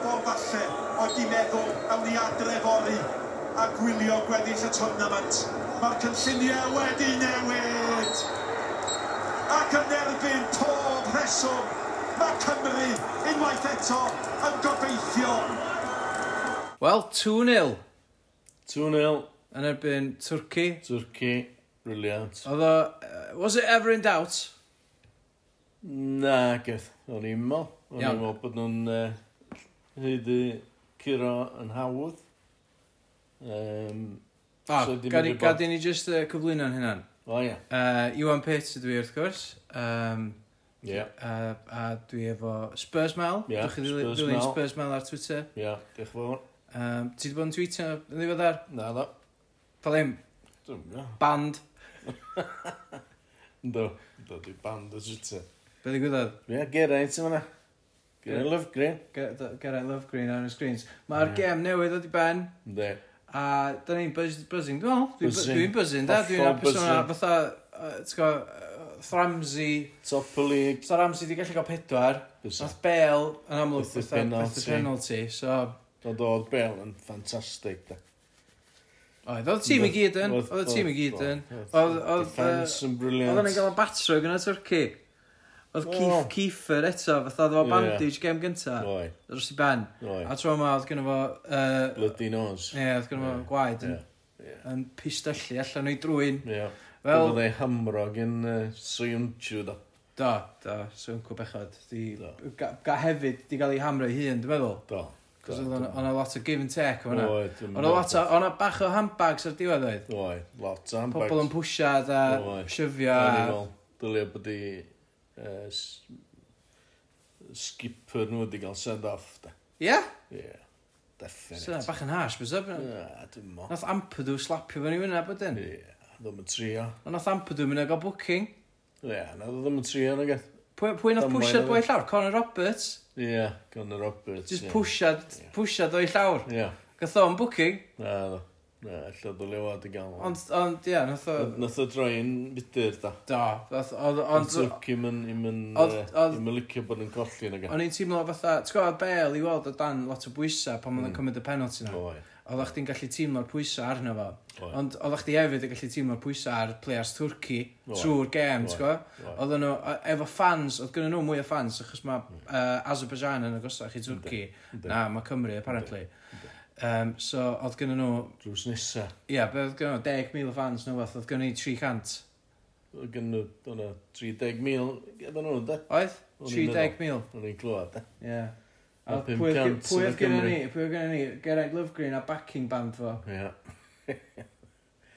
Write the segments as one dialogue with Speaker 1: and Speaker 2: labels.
Speaker 1: falle oedd i meddwl awn ni adrefori a gwylio gweddill y tournament. Mae'r cynlluniau wedi newid. Ac yn erbyn pob rheswm, mae Cymru unwaith eto yn gobeithio.
Speaker 2: Wel, 2-0
Speaker 3: 2-0,
Speaker 2: yn erbyn Twrci.
Speaker 3: Twrci, briliant.
Speaker 2: Oedd o... uh, Was it ever in doubt?
Speaker 3: Na, geth, o'n i'n mol. O'n
Speaker 2: Iawn.
Speaker 3: i'n mol bod nhw'n uh, hyd i curo yn hawdd. Um,
Speaker 2: Ah,
Speaker 3: So, dim
Speaker 2: gad i-
Speaker 3: unrhyw
Speaker 2: gad
Speaker 3: bo-
Speaker 2: i ni just uh, cyflwyno'n hynna'n.
Speaker 3: o ia,
Speaker 2: Uh, Iwan Pitt ydw i wrth gwrs. Um,
Speaker 3: ia,
Speaker 2: uh, a dwi efo Spurs Mel.
Speaker 3: Ie,
Speaker 2: Dwch chi ddilyn
Speaker 3: Spurs
Speaker 2: ddilyn
Speaker 3: Mel.
Speaker 2: Spurs Mel ar Twitter.
Speaker 3: ia, diolch yn fawr.
Speaker 2: Um, ti wedi bod yn tweetio yn ddiweddar?
Speaker 3: Na, da.
Speaker 2: Pa ddim,
Speaker 3: Dwi'n gwybod.
Speaker 2: band.
Speaker 3: Do, do, di band o e. Twitter.
Speaker 2: Be ddigwyddodd?
Speaker 3: Ia, Geraint yn fanna. Geraint Lofgren.
Speaker 2: Ger- d- Geraint Lovegreen ar y screens. Mae'r gem newydd oedd i ben,
Speaker 3: De.
Speaker 2: a da ni'n buzz- buzzing, dwi'n meddwl. Dwi'n bu-
Speaker 3: Buzzing.
Speaker 2: Dwi'n buzzing, da. Dwi'n
Speaker 3: Hollol
Speaker 2: apus yna fatha, uh, ti'n go, uh, Thramsey.
Speaker 3: Top y lig.
Speaker 2: So Ramsey wedi gallu cael pedwar.
Speaker 3: Bysa.
Speaker 2: Nath Bale yn amlwg
Speaker 3: With the
Speaker 2: fatha with the
Speaker 3: penalty.
Speaker 2: penalty. So,
Speaker 3: Ond oedd Bell yn ffantastig, da.
Speaker 2: oedd oedd y tîm i gyd yn.
Speaker 3: Oedd-
Speaker 2: Oedd y tîm i
Speaker 3: oedd-
Speaker 2: gyd yn.
Speaker 3: oedd-
Speaker 2: Oedd, oedd,
Speaker 3: Defence
Speaker 2: uh,
Speaker 3: yn
Speaker 2: oedd o'n
Speaker 3: briliant.
Speaker 2: gael yn batro gyda Twrci. Oedd
Speaker 3: Oh.
Speaker 2: Keith Kiefer eto, fatha oedd o
Speaker 3: Ie.
Speaker 2: bandage gem gynta.
Speaker 3: Oi,
Speaker 2: Dros i ben. A
Speaker 3: oi.
Speaker 2: tro yma oedd gynnu fo... yy,
Speaker 3: Bloody nose.
Speaker 2: Ie, oedd gynnu fo
Speaker 3: Ie.
Speaker 2: gwaed yn
Speaker 3: Ie.
Speaker 2: yn pistollu allan o'i drwy'n.
Speaker 3: Ie. Fel...
Speaker 2: Fel,
Speaker 3: Byddai hamro gen uh, Soyuncu, da.
Speaker 2: do, do, swncw bechod. Di,
Speaker 3: Do.
Speaker 2: ga, ga hefyd, di gael ei hamro ei hun, dwi'n meddwl.
Speaker 3: Do.
Speaker 2: Cos oedd o'n- o'na lot o give and take o'n hwnna.
Speaker 3: Oed.
Speaker 2: O'na lot o, o'na bach o handbags ar diwedd oedd.
Speaker 3: Oed, lot o handbags.
Speaker 2: Pobl yn pwysiad a
Speaker 3: Oedd.
Speaker 2: syfio a...
Speaker 3: Anifal. Dylio bod i... yy, s- Skipper nhw wedi cael send off, da.
Speaker 2: Ie,
Speaker 3: Ie. Definite.
Speaker 2: sy'n bach yn hash, bys Nath
Speaker 3: Na, dim mo.
Speaker 2: Ampadw slapio fyny fyna bod yn.
Speaker 3: Ie. Ddim yn trio.
Speaker 2: Ond nath Ampadw mynd a gael booking.
Speaker 3: Ie, na ddim yn trio e. na gath.
Speaker 2: Pwy pwy nath
Speaker 3: Damwain
Speaker 2: pwysiad
Speaker 3: oedd
Speaker 2: boi
Speaker 3: e.
Speaker 2: llawr? Conor Roberts.
Speaker 3: Ie, gan y Roberts.
Speaker 2: Just
Speaker 3: ie.
Speaker 2: pwysiad, pwysiad o'i llawr.
Speaker 3: Ie.
Speaker 2: Gath o'n booking.
Speaker 3: Na, do. Na, allan dylio fod i gael.
Speaker 2: Ond, ond, ie, nath o...
Speaker 3: Nath o droi'n fudur, da.
Speaker 2: Do, oedd, oedd,
Speaker 3: Ond
Speaker 2: ond,
Speaker 3: Twrci'n mynd, i'n mynd,
Speaker 2: Oedd- oedd-
Speaker 3: i'n mynd uh, licio bod yn colli yn y gael.
Speaker 2: o'n i'n teimlo fatha, ti'n gwybod, Bale i weld o dan lot o bwysau pan oedd yn
Speaker 3: Mm.
Speaker 2: cymryd y penalty na.
Speaker 3: Oi,
Speaker 2: Oedd o'ch ti'n gallu teimlo'r pwysau arno fo.
Speaker 3: oi,
Speaker 2: Ond oedd o'ch ti hefyd yn gallu teimlo'r pwysau ar players Twrci
Speaker 3: Oedd.
Speaker 2: trwy'r gem,
Speaker 3: Oedd.
Speaker 2: ti'n gwybod?
Speaker 3: oi.
Speaker 2: Oedden nhw, o- efo fans, oedd gynnu nhw mwy o fans, achos mae
Speaker 3: Mm.
Speaker 2: uh, Azerbaijan yn agosach i Twrci.
Speaker 3: Yndi.
Speaker 2: Na, mae Cymru, apparently. Um, so, oedd gynnu nhw,
Speaker 3: Drws nesa.
Speaker 2: ie, yeah, oedd gynnu nhw 10,000 o fans nhw fath, oedd gynnu ni 300.
Speaker 3: Oedd gen nhw, oedd nhw 30,000 gyda nhw, da.
Speaker 2: Oedd?
Speaker 3: O'n i'n meddwl.
Speaker 2: 30,000.
Speaker 3: O'n i'n clywed, eh? da.
Speaker 2: Ie.
Speaker 3: A
Speaker 2: A pwy
Speaker 3: 500
Speaker 2: oedd- pwy
Speaker 3: yn
Speaker 2: oedd
Speaker 3: y
Speaker 2: gen
Speaker 3: Cymru.
Speaker 2: ni, pwy oedd gen ni, Geraint Lovegreen a backing band fo.
Speaker 3: Ia,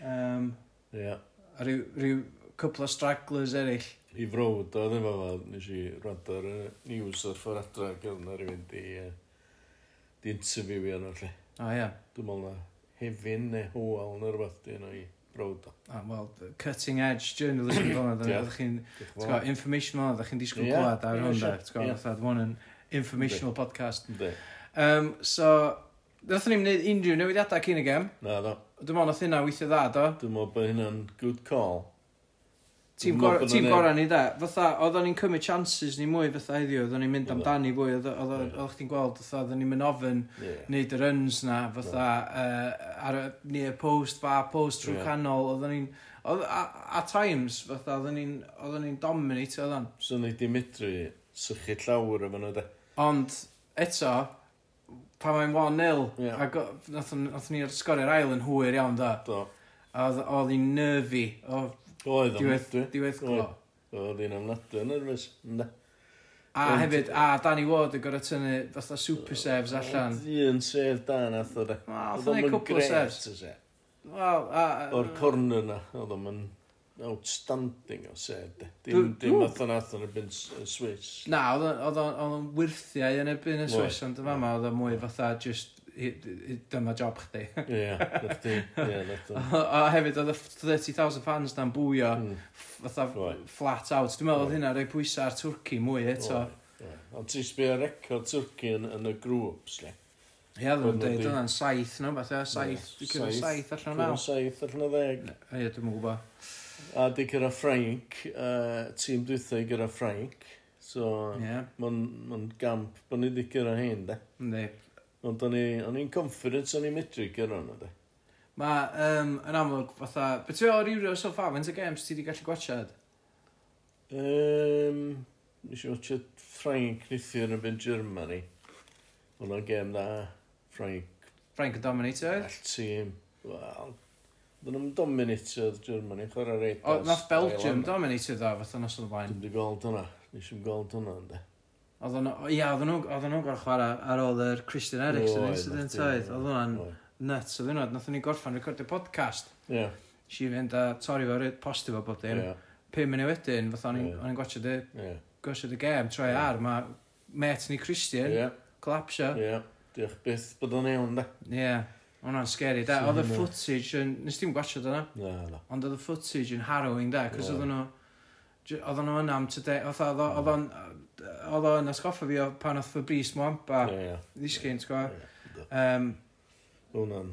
Speaker 2: Um,
Speaker 3: ia.
Speaker 2: a ryw, ryw cwpl o stragglers eraill.
Speaker 3: I frowd, oedd efo fo, nes i rand ar y news ar ffordd adra, gyda nhw rhywun di, yy, di interview i nhw, lle.
Speaker 2: O ie.
Speaker 3: Dwi'n meddwl na hefyn neu hwal neu rhywbeth di nhw i browd o.
Speaker 2: Ah, Wel, cutting edge journalism fel yna,
Speaker 3: Ie.
Speaker 2: ydych chi'n, ti'n
Speaker 3: Diolch yn fawr.
Speaker 2: gwbod, information fel yna, ydych chi'n disgwyl
Speaker 3: Ie.
Speaker 2: gwlad ar
Speaker 3: Ie,
Speaker 2: hwn da,
Speaker 3: sure.
Speaker 2: ti'n gwbod,
Speaker 3: Ie.
Speaker 2: fatha, one yn informational podcast.
Speaker 3: Yndi.
Speaker 2: Um, so, nath ni'n gwneud unrhyw newidiadau cyn y gem,
Speaker 3: Na, do.
Speaker 2: dwi'n meddwl nath hynna weithio dda, do.
Speaker 3: Dwi'n meddwl bod hynna'n good call.
Speaker 2: Tîm
Speaker 3: Dwi'n meddwl
Speaker 2: gor-
Speaker 3: bod
Speaker 2: tîm
Speaker 3: nhw'n-
Speaker 2: gorau ni da, fatha, oedden ni'n cymryd chances ni mwy fatha heddiw, oedden ni'n mynd
Speaker 3: Oedden.
Speaker 2: amdani fwy, oedden oedden-
Speaker 3: Ie.
Speaker 2: oeddech chdi'n gweld, fatha, oedden ni'n mynd ofyn
Speaker 3: Ie.
Speaker 2: wneud y runs na, fatha, uh, ar y near post, fa post trwy
Speaker 3: Ie.
Speaker 2: yeah. canol, oedden ni'n, oedd- a, a times, fatha, oedden ni'n, oedden ni'n dominate, oedden.
Speaker 3: So ni di medru sychu llawr efo nhw de.
Speaker 2: Ond, eto, pan mae'n 1-0,
Speaker 3: Ie.
Speaker 2: yeah. ac nath ni'r sgorio'r ail yn hwyr iawn da,
Speaker 3: Do.
Speaker 2: a oedd- oedd hi'n nerfi, o
Speaker 3: Oedd o'n
Speaker 2: diwedd,
Speaker 3: medru.
Speaker 2: diwedd glo.
Speaker 3: Oedd. Oedd hi'n ofnadwy yn nerfus. Na.
Speaker 2: A
Speaker 3: Ond-
Speaker 2: hefyd, a Danny Ward yn gorau tynnu fatha super saves allan.
Speaker 3: Oedd Un sef da nath o de.
Speaker 2: Wel, nath
Speaker 3: Oedd
Speaker 2: o
Speaker 3: o'm
Speaker 2: neud
Speaker 3: yn
Speaker 2: cwpl o Ah.
Speaker 3: grêt,
Speaker 2: saves.
Speaker 3: y sef.
Speaker 2: Wel, a...
Speaker 3: O'r corner na, oedd o'n outstanding o sef de. Dim,
Speaker 2: Dw-
Speaker 3: dim
Speaker 2: dw-
Speaker 3: nath o'n nath o'n erbyn S- y Swiss.
Speaker 2: Na, oedd o- oedd o- oedd o'n wirthiau yn ebyn y
Speaker 3: Oedd.
Speaker 2: Swiss, ond yn fama oedd o'n mwy fatha just i- i- dyma job chdi.
Speaker 3: Ie, nath di. Ie, nath o'n.
Speaker 2: A hefyd oedd y 30,000 fans na'n bwio
Speaker 3: Mm.
Speaker 2: fatha
Speaker 3: Oedd.
Speaker 2: flat out. Dwi'n meddwl oedd
Speaker 3: Oedd.
Speaker 2: hynna rhoi pwysau ar Twrci mwy eto.
Speaker 3: Oedd, oedd. Ond ti'n sbio record Twrci yn, yn y grŵps, le.
Speaker 2: Ie, oedd o'n
Speaker 3: Oedd nhw
Speaker 2: dweud,
Speaker 3: di-
Speaker 2: oedd o'n saith, no, fatha saith,
Speaker 3: Ie,
Speaker 2: dwi'n cyrra
Speaker 3: saith.
Speaker 2: saith allan o
Speaker 3: Cwrw
Speaker 2: naw.
Speaker 3: saith allan o ddeg.
Speaker 2: Ie, dwi'n gwybod.
Speaker 3: A di gyda Frank, uh, tîm dwythau gyda Frank. So, yeah.
Speaker 2: Ie,
Speaker 3: mae'n gamp bod ni di gyda hyn, da.
Speaker 2: ynddi.
Speaker 3: Ond o'n i- o'n i'n confident o'n i'n medru gyrra hwnna, de.
Speaker 2: Mae, um, yn amlwg, fatha... Be ti'n o'r Euro so far, faint o games ti wedi gallu gwachad?
Speaker 3: Um, nes i watcha Frank nithio yn y byd Germany. Hwna gem na Frank
Speaker 2: Frank yn dominatio oedd?
Speaker 3: all tîm. Wel, dyn nhw'n dominatio Germany, chwer ar eitas.
Speaker 2: O, nath Belgium dominatio dda, fatha nos o'n blaen.
Speaker 3: Dwi'n di gweld hwnna. Nes i'n gweld hwnna, ynddo.
Speaker 2: Oedden nhw, ia, oedden nhw, oedden nhw gorau chwarae ar ôl yr Christian Eriksen
Speaker 3: Oedd,
Speaker 2: incident
Speaker 3: nath hi,
Speaker 2: oedd. Oedd hwnna'n
Speaker 3: oedd.
Speaker 2: nuts, oedd hwnna'n, nath ni gorffan recordio podcast.
Speaker 3: Ie,
Speaker 2: Si i fynd a torri fo, ry- posti fo bob dim.
Speaker 3: ie,
Speaker 2: 5 munud wedyn, fatha o'n
Speaker 3: Ie.
Speaker 2: i'n gwachod y,
Speaker 3: ie.
Speaker 2: gwachod y gêm, troi ar, mae met ni Christian,
Speaker 3: Ie,
Speaker 2: collapsio.
Speaker 3: ie. Diolch byth bod o'n iawn, ynddo.
Speaker 2: Ie, hwnna'n scary, da.
Speaker 3: So
Speaker 2: Oedd y
Speaker 3: hwnna-
Speaker 2: footage yn, nes ti'n gwachod yna?
Speaker 3: Na, na.
Speaker 2: Ond oedd y footage yn harrowing da, cos
Speaker 3: Ie.
Speaker 2: oedden nhw... j- Oedden nhw yna am today, oedd oedd
Speaker 3: Mm.
Speaker 2: oedd o'n... Oedd o'n asgoffa fi o pan oedd Fabrice Mwampa
Speaker 3: Ie, ie.
Speaker 2: ddisgyn, ti'n gwybod?
Speaker 3: Ynddo.
Speaker 2: Um,
Speaker 3: Hwna'n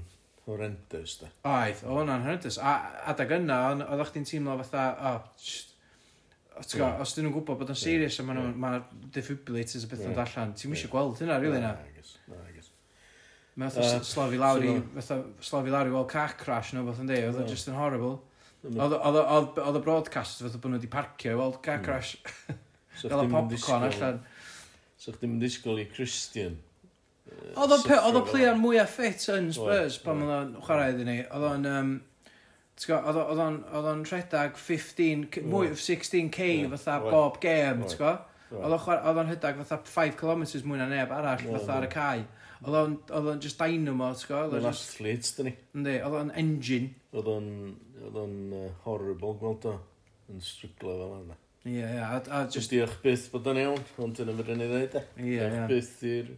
Speaker 3: horrendous, da.
Speaker 2: oedd, oedd hwnna'n horrendous. A adag yna, o'n- oedd o'ch ti'n teimlo fatha, o, tsh, o, ti'n gwbod,
Speaker 3: Ie.
Speaker 2: os dyn nhw'n gwybod bod o'n
Speaker 3: Ie.
Speaker 2: serious a maen nhw'n
Speaker 3: Ie.
Speaker 2: ma defibrillators a beth yn
Speaker 3: Ie.
Speaker 2: allan, ti'n
Speaker 3: Ie.
Speaker 2: mysio gweld hynna, rili na.
Speaker 3: agos, Na, agos.
Speaker 2: Mae fatha
Speaker 3: Yy,
Speaker 2: s- slofi lawr i,
Speaker 3: so-
Speaker 2: fatha slofi lawr i weld car crash nhw, fatha'n di, oedd
Speaker 3: Ie.
Speaker 2: o'n just yn horrible.
Speaker 3: Dyna-
Speaker 2: Oedd oedd- oedd- oedd y broadcast fatha bod nhw wedi parcio i weld car
Speaker 3: Mm.
Speaker 2: crash,
Speaker 3: So
Speaker 2: gael y
Speaker 3: chdi'm yn
Speaker 2: popcorn
Speaker 3: disgwyl-
Speaker 2: allan.
Speaker 3: So chdi'n mynd disgwyl i Christian. yy,
Speaker 2: Oedd o'n pe-
Speaker 3: syffro
Speaker 2: oedd o'n
Speaker 3: fel
Speaker 2: player mwyaf fit yn Spurs
Speaker 3: Oedd,
Speaker 2: pan
Speaker 3: oedd.
Speaker 2: oedd o'n chwarae iddyn ni. Oedd o'n... Um, ti'n gwbod, oedd o- oedd o'n oedd o'n rhedag 15, c- mwy
Speaker 3: Oedd.
Speaker 2: o 16k
Speaker 3: Ie,
Speaker 2: fatha
Speaker 3: oedd.
Speaker 2: bob gêm,
Speaker 3: Oedd.
Speaker 2: ti'n gwbod?
Speaker 3: Oedd.
Speaker 2: Oedd o'n chwara- oedd o'n rhedag fatha 5km mwy na neb arall
Speaker 3: Oedd,
Speaker 2: fatha ar y
Speaker 3: oedd.
Speaker 2: cae. Oedd o'n oedd o'n just dynamo, ti'n gwbod? Oedd
Speaker 3: Oedd
Speaker 2: o'n
Speaker 3: o'n
Speaker 2: just-
Speaker 3: athlete, dyn ni.
Speaker 2: Yndi, oedd o'n engine.
Speaker 3: Oedd o'n, oedd o'n uh, horrible gweld o. Yn striglo fel yna.
Speaker 2: Ie, ie, a, a
Speaker 3: Just
Speaker 2: just...
Speaker 3: diolch byth bod o'n iawn, ond dyna fydden ni ddeud e.
Speaker 2: Ie,
Speaker 3: Diolch
Speaker 2: ie.
Speaker 3: byth i'r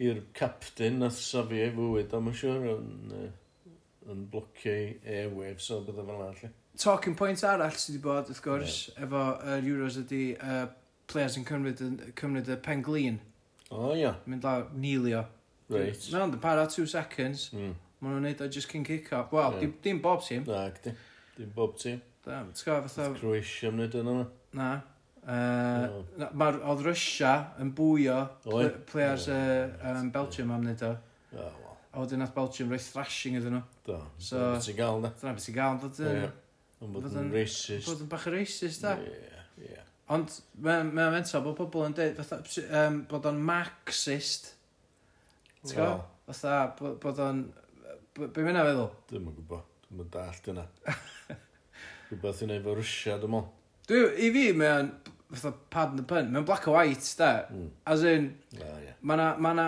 Speaker 3: i'r captain nath safi ei fywyd, am y siwr, yn, uh, yn blocio ei airwaves o bydda fel arall.
Speaker 2: Talking point arall sydd wedi bod, wrth gwrs, efo yr Euros ydy uh, players yn cymryd, yn- cymryd y penglin,
Speaker 3: O ia,
Speaker 2: mynd lawr, nilio.
Speaker 3: reit.
Speaker 2: Mae o'n para two seconds.
Speaker 3: Mm.
Speaker 2: Mae nhw'n neud o just cyn kick-off. Wel,
Speaker 3: Ie.
Speaker 2: yeah. dim, dim bob tîm.
Speaker 3: Na, gdi. Dim bob tîm.
Speaker 2: Da, Ti'n gwybod fatha...
Speaker 3: Croatia yn wneud yna.
Speaker 2: Na. Uh, no. Mae'r oedd Russia yn bwyo pl
Speaker 3: Oedd.
Speaker 2: players
Speaker 3: Ie.
Speaker 2: uh, um, Belgium am wneud o.
Speaker 3: O, wel,
Speaker 2: A wedyn nath Belgium roi thrashing iddyn nhw.
Speaker 3: da.
Speaker 2: So-
Speaker 3: So... Ti'n gael na.
Speaker 2: Dyna beth sy'n gael, bod yn...
Speaker 3: Ie. Yn bod
Speaker 2: Fod
Speaker 3: yn
Speaker 2: yn-
Speaker 3: racist.
Speaker 2: Bod yn bach o racist, da.
Speaker 3: Ie, ie.
Speaker 2: Ond mae'n ma mental bod pobl yn dweud fatha, ps- yym, bod o'n marxist. Ti'n gwybod? Fatha, bod- bod o'n... b- Be mae'n feddwl?
Speaker 3: Dwi'n yn gwybod. Dwi'n yn dallt yna. Rhywbeth i wneud efo Rysia, dwi'n mwyn.
Speaker 2: Dwi, i fi, mae'n, fatha, pardon the pun, mae'n black and white, da.
Speaker 3: Mm.
Speaker 2: As in,
Speaker 3: Na, ie.
Speaker 2: mae na, ma na,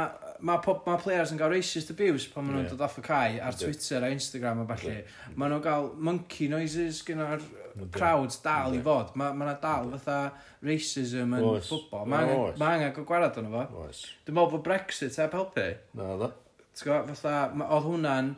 Speaker 2: ma pop, ma players yn cael racist abuse pan maen nhw'n
Speaker 3: Ie.
Speaker 2: dod off y cae ar
Speaker 3: Yndi.
Speaker 2: Twitter a Instagram a falle.
Speaker 3: Yndi.
Speaker 2: Maen nhw'n cael monkey noises gyda'r
Speaker 3: Yndi.
Speaker 2: crowds dal
Speaker 3: Yndi.
Speaker 2: i fod. Mae ma na dal fatha racism yn
Speaker 3: Oes.
Speaker 2: ffwbol.
Speaker 3: Oes.
Speaker 2: Mae angen go gwarad o'n fo.
Speaker 3: Oes.
Speaker 2: Dwi'n meddwl bod Brexit heb helpu.
Speaker 3: Na, dda.
Speaker 2: T'w gwbod, fatha, ma- oedd hwnna'n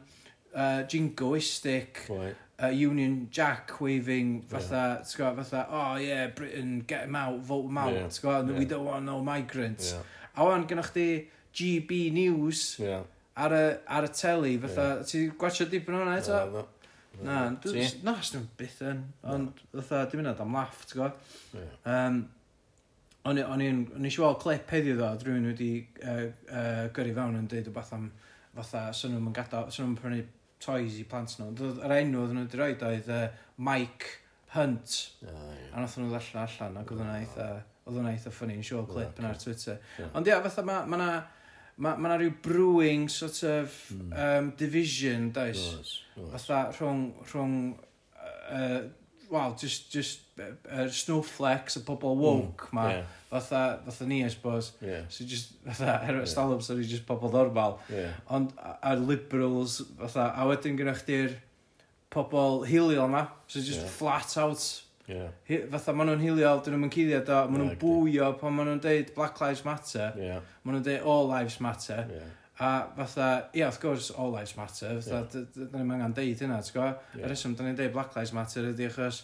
Speaker 2: uh, jingoistic
Speaker 3: Oi.
Speaker 2: uh, Union Jack waving fatha, yeah. gwybod, fatha, oh yeah, Britain, get 'em out, vote 'em out,
Speaker 3: Ie,
Speaker 2: yeah. gwybod,
Speaker 3: ie.
Speaker 2: we don't want no migrants.
Speaker 3: Ie.
Speaker 2: A wan, gynnwch chi GB News
Speaker 3: Ie.
Speaker 2: ar y, ar y teli, fatha, yeah. ti gwachio dipyn o hwnna
Speaker 3: Na,
Speaker 2: eto?
Speaker 3: dda.
Speaker 2: Na, dwi-
Speaker 3: Ti?
Speaker 2: na, os dwi'n byth yn, ond fatha, dim mynd am laff, ti'n gwybod?
Speaker 3: Ie.
Speaker 2: Um, o'n i- o'n i'n, o'n i siw clip heddiw ddo, oedd rhywun wedi uh, uh, gyrru fewn yn deud o beth am, fatha, sy'n nhw'n gada, sy'n nhw'n prynu toys i plant nhw. Ond oedd- Yr enw oedd nhw wedi rhoi oedd uh, Mike Hunt,
Speaker 3: Na, ie.
Speaker 2: a nath nhw ddallan allan, ac oedd hwnna eitha, oedd hwnna eitha ffynnu, yn siw clip
Speaker 3: Ie,
Speaker 2: yn ar Twitter.
Speaker 3: Ie.
Speaker 2: Ond ia, fatha, ma, ma na, ma, ma na ryw brewing sort of um, division, does?
Speaker 3: Oes. Oes.
Speaker 2: fatha rhwng, rhwng uh, wow, just, just uh, snowflakes, y pobol
Speaker 3: Hmm,
Speaker 2: woke mm, ma,
Speaker 3: Ie.
Speaker 2: fatha, fatha ni, I suppose,
Speaker 3: Ie.
Speaker 2: so just, fatha, er stalwm, so ni just pobol normal,
Speaker 3: Ie.
Speaker 2: ond, a, a liberals, fatha, a wedyn gynnwch chi'r pobol hiliol ma, so just
Speaker 3: Ie.
Speaker 2: yeah. flat out,
Speaker 3: Ie.
Speaker 2: hi, fatha, ma nhw'n hiliol, dyn nhw'n cuddio do, ma nhw'n
Speaker 3: Nagdi.
Speaker 2: bwio, pan ma nhw'n deud Black Lives Matter,
Speaker 3: Ie.
Speaker 2: ma nhw'n deud All Lives Matter,
Speaker 3: Ie.
Speaker 2: A fatha, ia, wrth gwrs, all lives matter, fatha, d- d- da ni'n angen deud hynna, ti'n gwybod?
Speaker 3: Ie.
Speaker 2: Y reswm, da ni'n deud black lives matter ydy achos,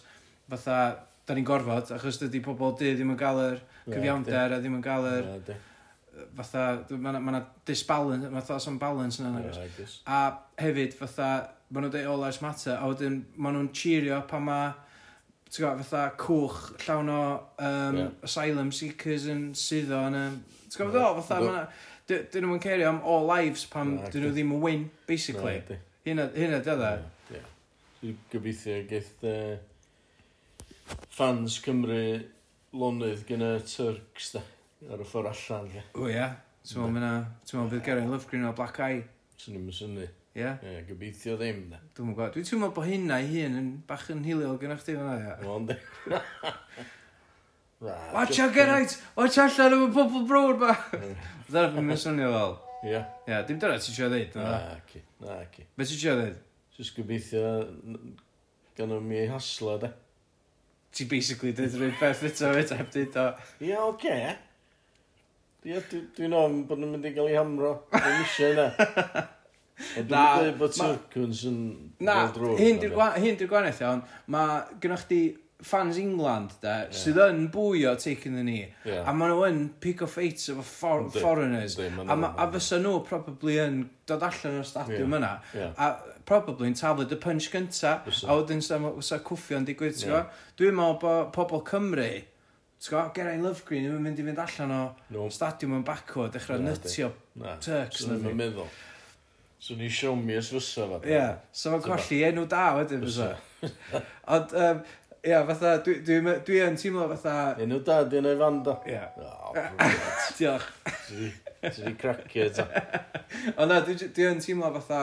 Speaker 2: fatha, da ni'n gorfod, achos dydy pobl di ddim yn gael yr
Speaker 3: Ie,
Speaker 2: cyfiawnder a ddim yn gael yr,
Speaker 3: Na, di.
Speaker 2: fatha, mae yna disbalance, mae fatha some balance yna,
Speaker 3: Ie,
Speaker 2: nagos.
Speaker 3: agos.
Speaker 2: A hefyd, fatha, maen nhw'n deud all lives matter, a wedyn, maen nhw'n cheerio pan mae, ti'n gwybod, fatha, cwch llawn o um,
Speaker 3: Ie.
Speaker 2: asylum seekers yn suddo yn y, ti'n gwybod,
Speaker 3: Ie.
Speaker 2: yeah. fatha,
Speaker 3: Yndw.
Speaker 2: maen nhw, Dyn nhw'n cerio am all lives pam
Speaker 3: Na,
Speaker 2: dyn nhw
Speaker 3: dy-
Speaker 2: ddim yn win, basically.
Speaker 3: Ydy.
Speaker 2: Hynna hynna dydda.
Speaker 3: Ie. Dwi'n gobeithio geith uh, fans Cymru lonydd gen y Turks da, ar y ffordd allan. Da.
Speaker 2: O ia, ti'n meddwl mynd ti'n meddwl bydd Geraint Lovegreen o Black Eye,
Speaker 3: Swn i'n mysynnu.
Speaker 2: ia?
Speaker 3: Ie, gobeithio ddim da.
Speaker 2: Dwi'n gwybod, dwi'n teimlo bod hynna i hun yn bach yn hiliol gyda chdi fan'na, ia?
Speaker 3: Ond de.
Speaker 2: Watch out Geraint, watch allan am y pobl brwd ma!
Speaker 3: Ie.
Speaker 2: Dyna beth mae'n swnio fel.
Speaker 3: Ie.
Speaker 2: Ia, dim dyna ti'n siarad ddeud,
Speaker 3: Na,
Speaker 2: na?
Speaker 3: ci. Na, ci.
Speaker 2: Be ti'n siarad ddeud?
Speaker 3: Jyst gobeithio n- gan o'n mi haslo da.
Speaker 2: Ti'n basically dweud rhywun beth eto, eto, heb dweud o.
Speaker 3: Ie, oce. Ie, dwi- dwi'n ofn bod nhw'n mynd i gael ei hamro. Dwi'n eisiau yna. Ond
Speaker 2: Na,
Speaker 3: dwi'n dweud bod
Speaker 2: ma-
Speaker 3: Turkans yn...
Speaker 2: Na,
Speaker 3: fel drwg,
Speaker 2: hyn
Speaker 3: na,
Speaker 2: di'r
Speaker 3: de.
Speaker 2: gwa- hyn di'r gwanaeth iawn. Mae gynnwch chi fans England, da, sydd yn bwy o taking the knee.
Speaker 3: Ie.
Speaker 2: A maen nhw yn pick off eights efo for
Speaker 3: Yndi,
Speaker 2: foreigners.
Speaker 3: yndi, ma' nhw
Speaker 2: a, ma,
Speaker 3: yn-
Speaker 2: a fysa nhw probably yn dod allan o'r stadiwm
Speaker 3: Ie,
Speaker 2: yna.
Speaker 3: ie.
Speaker 2: A probably yn taflid y punch gynta.
Speaker 3: Fysa.
Speaker 2: A wedyn sa- fysa cwffio'n digwydd, ti'n
Speaker 3: Ie.
Speaker 2: gwbod? Dwi'n meddwl bod pobl Cymru, ti'n gwbod, Geraint Lovegreen ddim yn mynd i fynd allan o
Speaker 3: No.
Speaker 2: stadiwm yn baco, dechrau
Speaker 3: Na,
Speaker 2: nytio
Speaker 3: Na,
Speaker 2: Turks
Speaker 3: swn i'm
Speaker 2: na fi.
Speaker 3: yn meddwl. So ni show me os fysa fa.
Speaker 2: Ie, so mae'n
Speaker 3: Dyma.
Speaker 2: colli enw da wedyn fysa. Ond, yym, ie, fatha, dwi- dwi me- dwi yn teimlo fatha...
Speaker 3: Enw dad yn ei fanda.
Speaker 2: Ie,
Speaker 3: O, brilliant.
Speaker 2: diolch.
Speaker 3: Ti- ti 'di cracio ta.
Speaker 2: Ond na, dwi j- dwi yn teimlo fatha...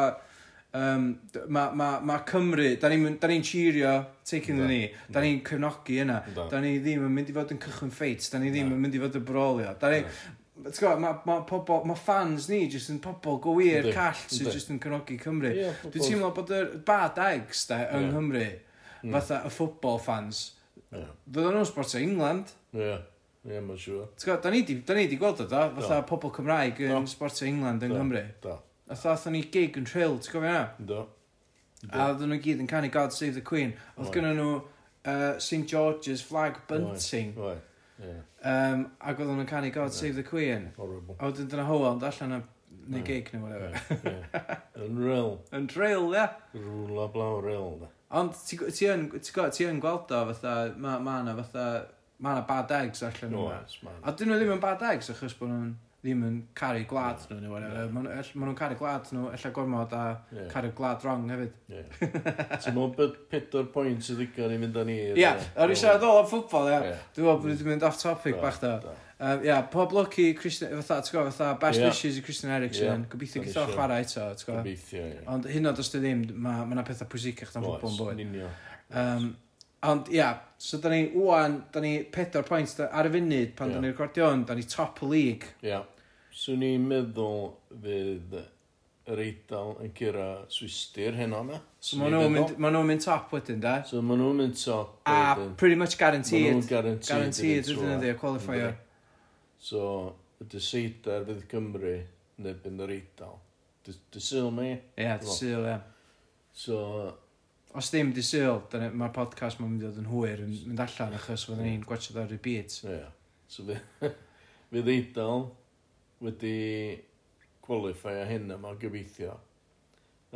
Speaker 2: Um, mae ma, ma Cymru, da ni'n mynd- da ni'n cheerio, taking the
Speaker 3: Yndw,
Speaker 2: knee, da ni'n cefnogi yna,
Speaker 3: Yndw.
Speaker 2: da ni ddim yn mynd i fod yn cychwyn ffeit, da ni ddim yn mynd i fod yn brolio, da ni, ti'n gwybod, mae ma pobol, mae fans ni jyst yn pobol go wir,
Speaker 3: Yndw,
Speaker 2: call, sydd
Speaker 3: yndw.
Speaker 2: jyst yn cefnogi Cymru.
Speaker 3: Ie,
Speaker 2: Dwi'n
Speaker 3: pobol-
Speaker 2: teimlo bod y bad eggs da yng
Speaker 3: Ie. Mm.
Speaker 2: Nghymru, fatha y ffwbol fans,
Speaker 3: Ie.
Speaker 2: Fydden nhw'n sportio England.
Speaker 3: Ie, ie, ma'n siŵr.
Speaker 2: T'w gwbod, Da ni, di, da ni di gweld o da, fatha
Speaker 3: Do.
Speaker 2: pobl Cymraeg yn
Speaker 3: Do.
Speaker 2: sportio England yng
Speaker 3: Do.
Speaker 2: Nghymru.
Speaker 3: Da,
Speaker 2: A thoth ni gig yn trill, ti'n gofio na?
Speaker 3: do.
Speaker 2: A oedden nhw gyd yn canu God Save the Queen. Oedd
Speaker 3: Oedd.
Speaker 2: gynnu nhw uh, St George's flag bunting.
Speaker 3: Oi, ie,
Speaker 2: Um, ac oedden nhw'n canu God
Speaker 3: Oedd.
Speaker 2: Save the Queen.
Speaker 3: horrible.
Speaker 2: A wedyn dyna hwyl, ond allan y neu
Speaker 3: Ie.
Speaker 2: gig neu whatever.
Speaker 3: Ie, ie. Yn rel,
Speaker 2: Yn trill, ie.
Speaker 3: rŵl a blaw rel. da.
Speaker 2: Ond ti gw- ti yn, ti gw- ti yn gweld o fatha, ma, ma na fatha, ma na bad eggs allan yna.
Speaker 3: Oes, man.
Speaker 2: A dyn nhw ddim yn bad eggs achos bod nhw'n ddim yn caru gwlad nhw neu whatever. Ma' nhw- ell- ma' nhw'n caru gwlad nhw, ella gormod a
Speaker 3: Ie,
Speaker 2: caru gwlad wrong hefyd.
Speaker 3: ie. Ti'n meddwl bod pedo'r pwynt sydd ddigon i fynd â ni?
Speaker 2: Ie, ar i siarad ôl am ffwtbol, ie.
Speaker 3: Ie.
Speaker 2: Dwi'n meddwl bod ni'n mynd off topic
Speaker 3: Da,
Speaker 2: bach da.
Speaker 3: da.
Speaker 2: Yym, Ie, pob lwc i Christian, fatha, ti'n gwybod, fatha, best
Speaker 3: Ie.
Speaker 2: wishes i Christian Eriksen.
Speaker 3: Ie.
Speaker 2: Gobeithio
Speaker 3: Da ni
Speaker 2: gyda
Speaker 3: siŵr.
Speaker 2: chwarae eto, ti'n gwybod.
Speaker 3: Gobeithio, ie.
Speaker 2: Ond hyn oed os dy ddim, mae ma 'na pethau pwysicach dan
Speaker 3: Oes,
Speaker 2: ffwtbol yn bywyd.
Speaker 3: yn union.
Speaker 2: Um, ond ia, so da ni, wwan, da ni pedo'r pwynt da- ar y funud pan da
Speaker 3: Ie.
Speaker 2: ni'r gordion, da ni top y lig.
Speaker 3: Ia. Swn i'n meddwl fydd yr eidl yn cyrra swistir heno yma.
Speaker 2: So ma' nhw'n mynd, ma' nhw'n mynd top wedyn, da.
Speaker 3: So ma' nhw'n mynd top.
Speaker 2: A
Speaker 3: wedyn.
Speaker 2: pretty much
Speaker 3: Ma' nhw'n
Speaker 2: guaranteed.
Speaker 3: guaranteed.
Speaker 2: Guaranteed,
Speaker 3: yn
Speaker 2: ydyn nhw,
Speaker 3: tro.
Speaker 2: dde, qualifier.
Speaker 3: Yndyn. So, y dyseida'r fydd Cymru neu byn yr eidl. Dysil mi.
Speaker 2: Ia, dy syl, ia.
Speaker 3: So,
Speaker 2: Os dim dy syl, mae'r podcast mae'n mynd i fod yn hwyr yn mynd allan achos fydden ni'n gwachod ar y beat.
Speaker 3: ie. So fydd fydd eidl wedi qualify a hyn yma gobeithio.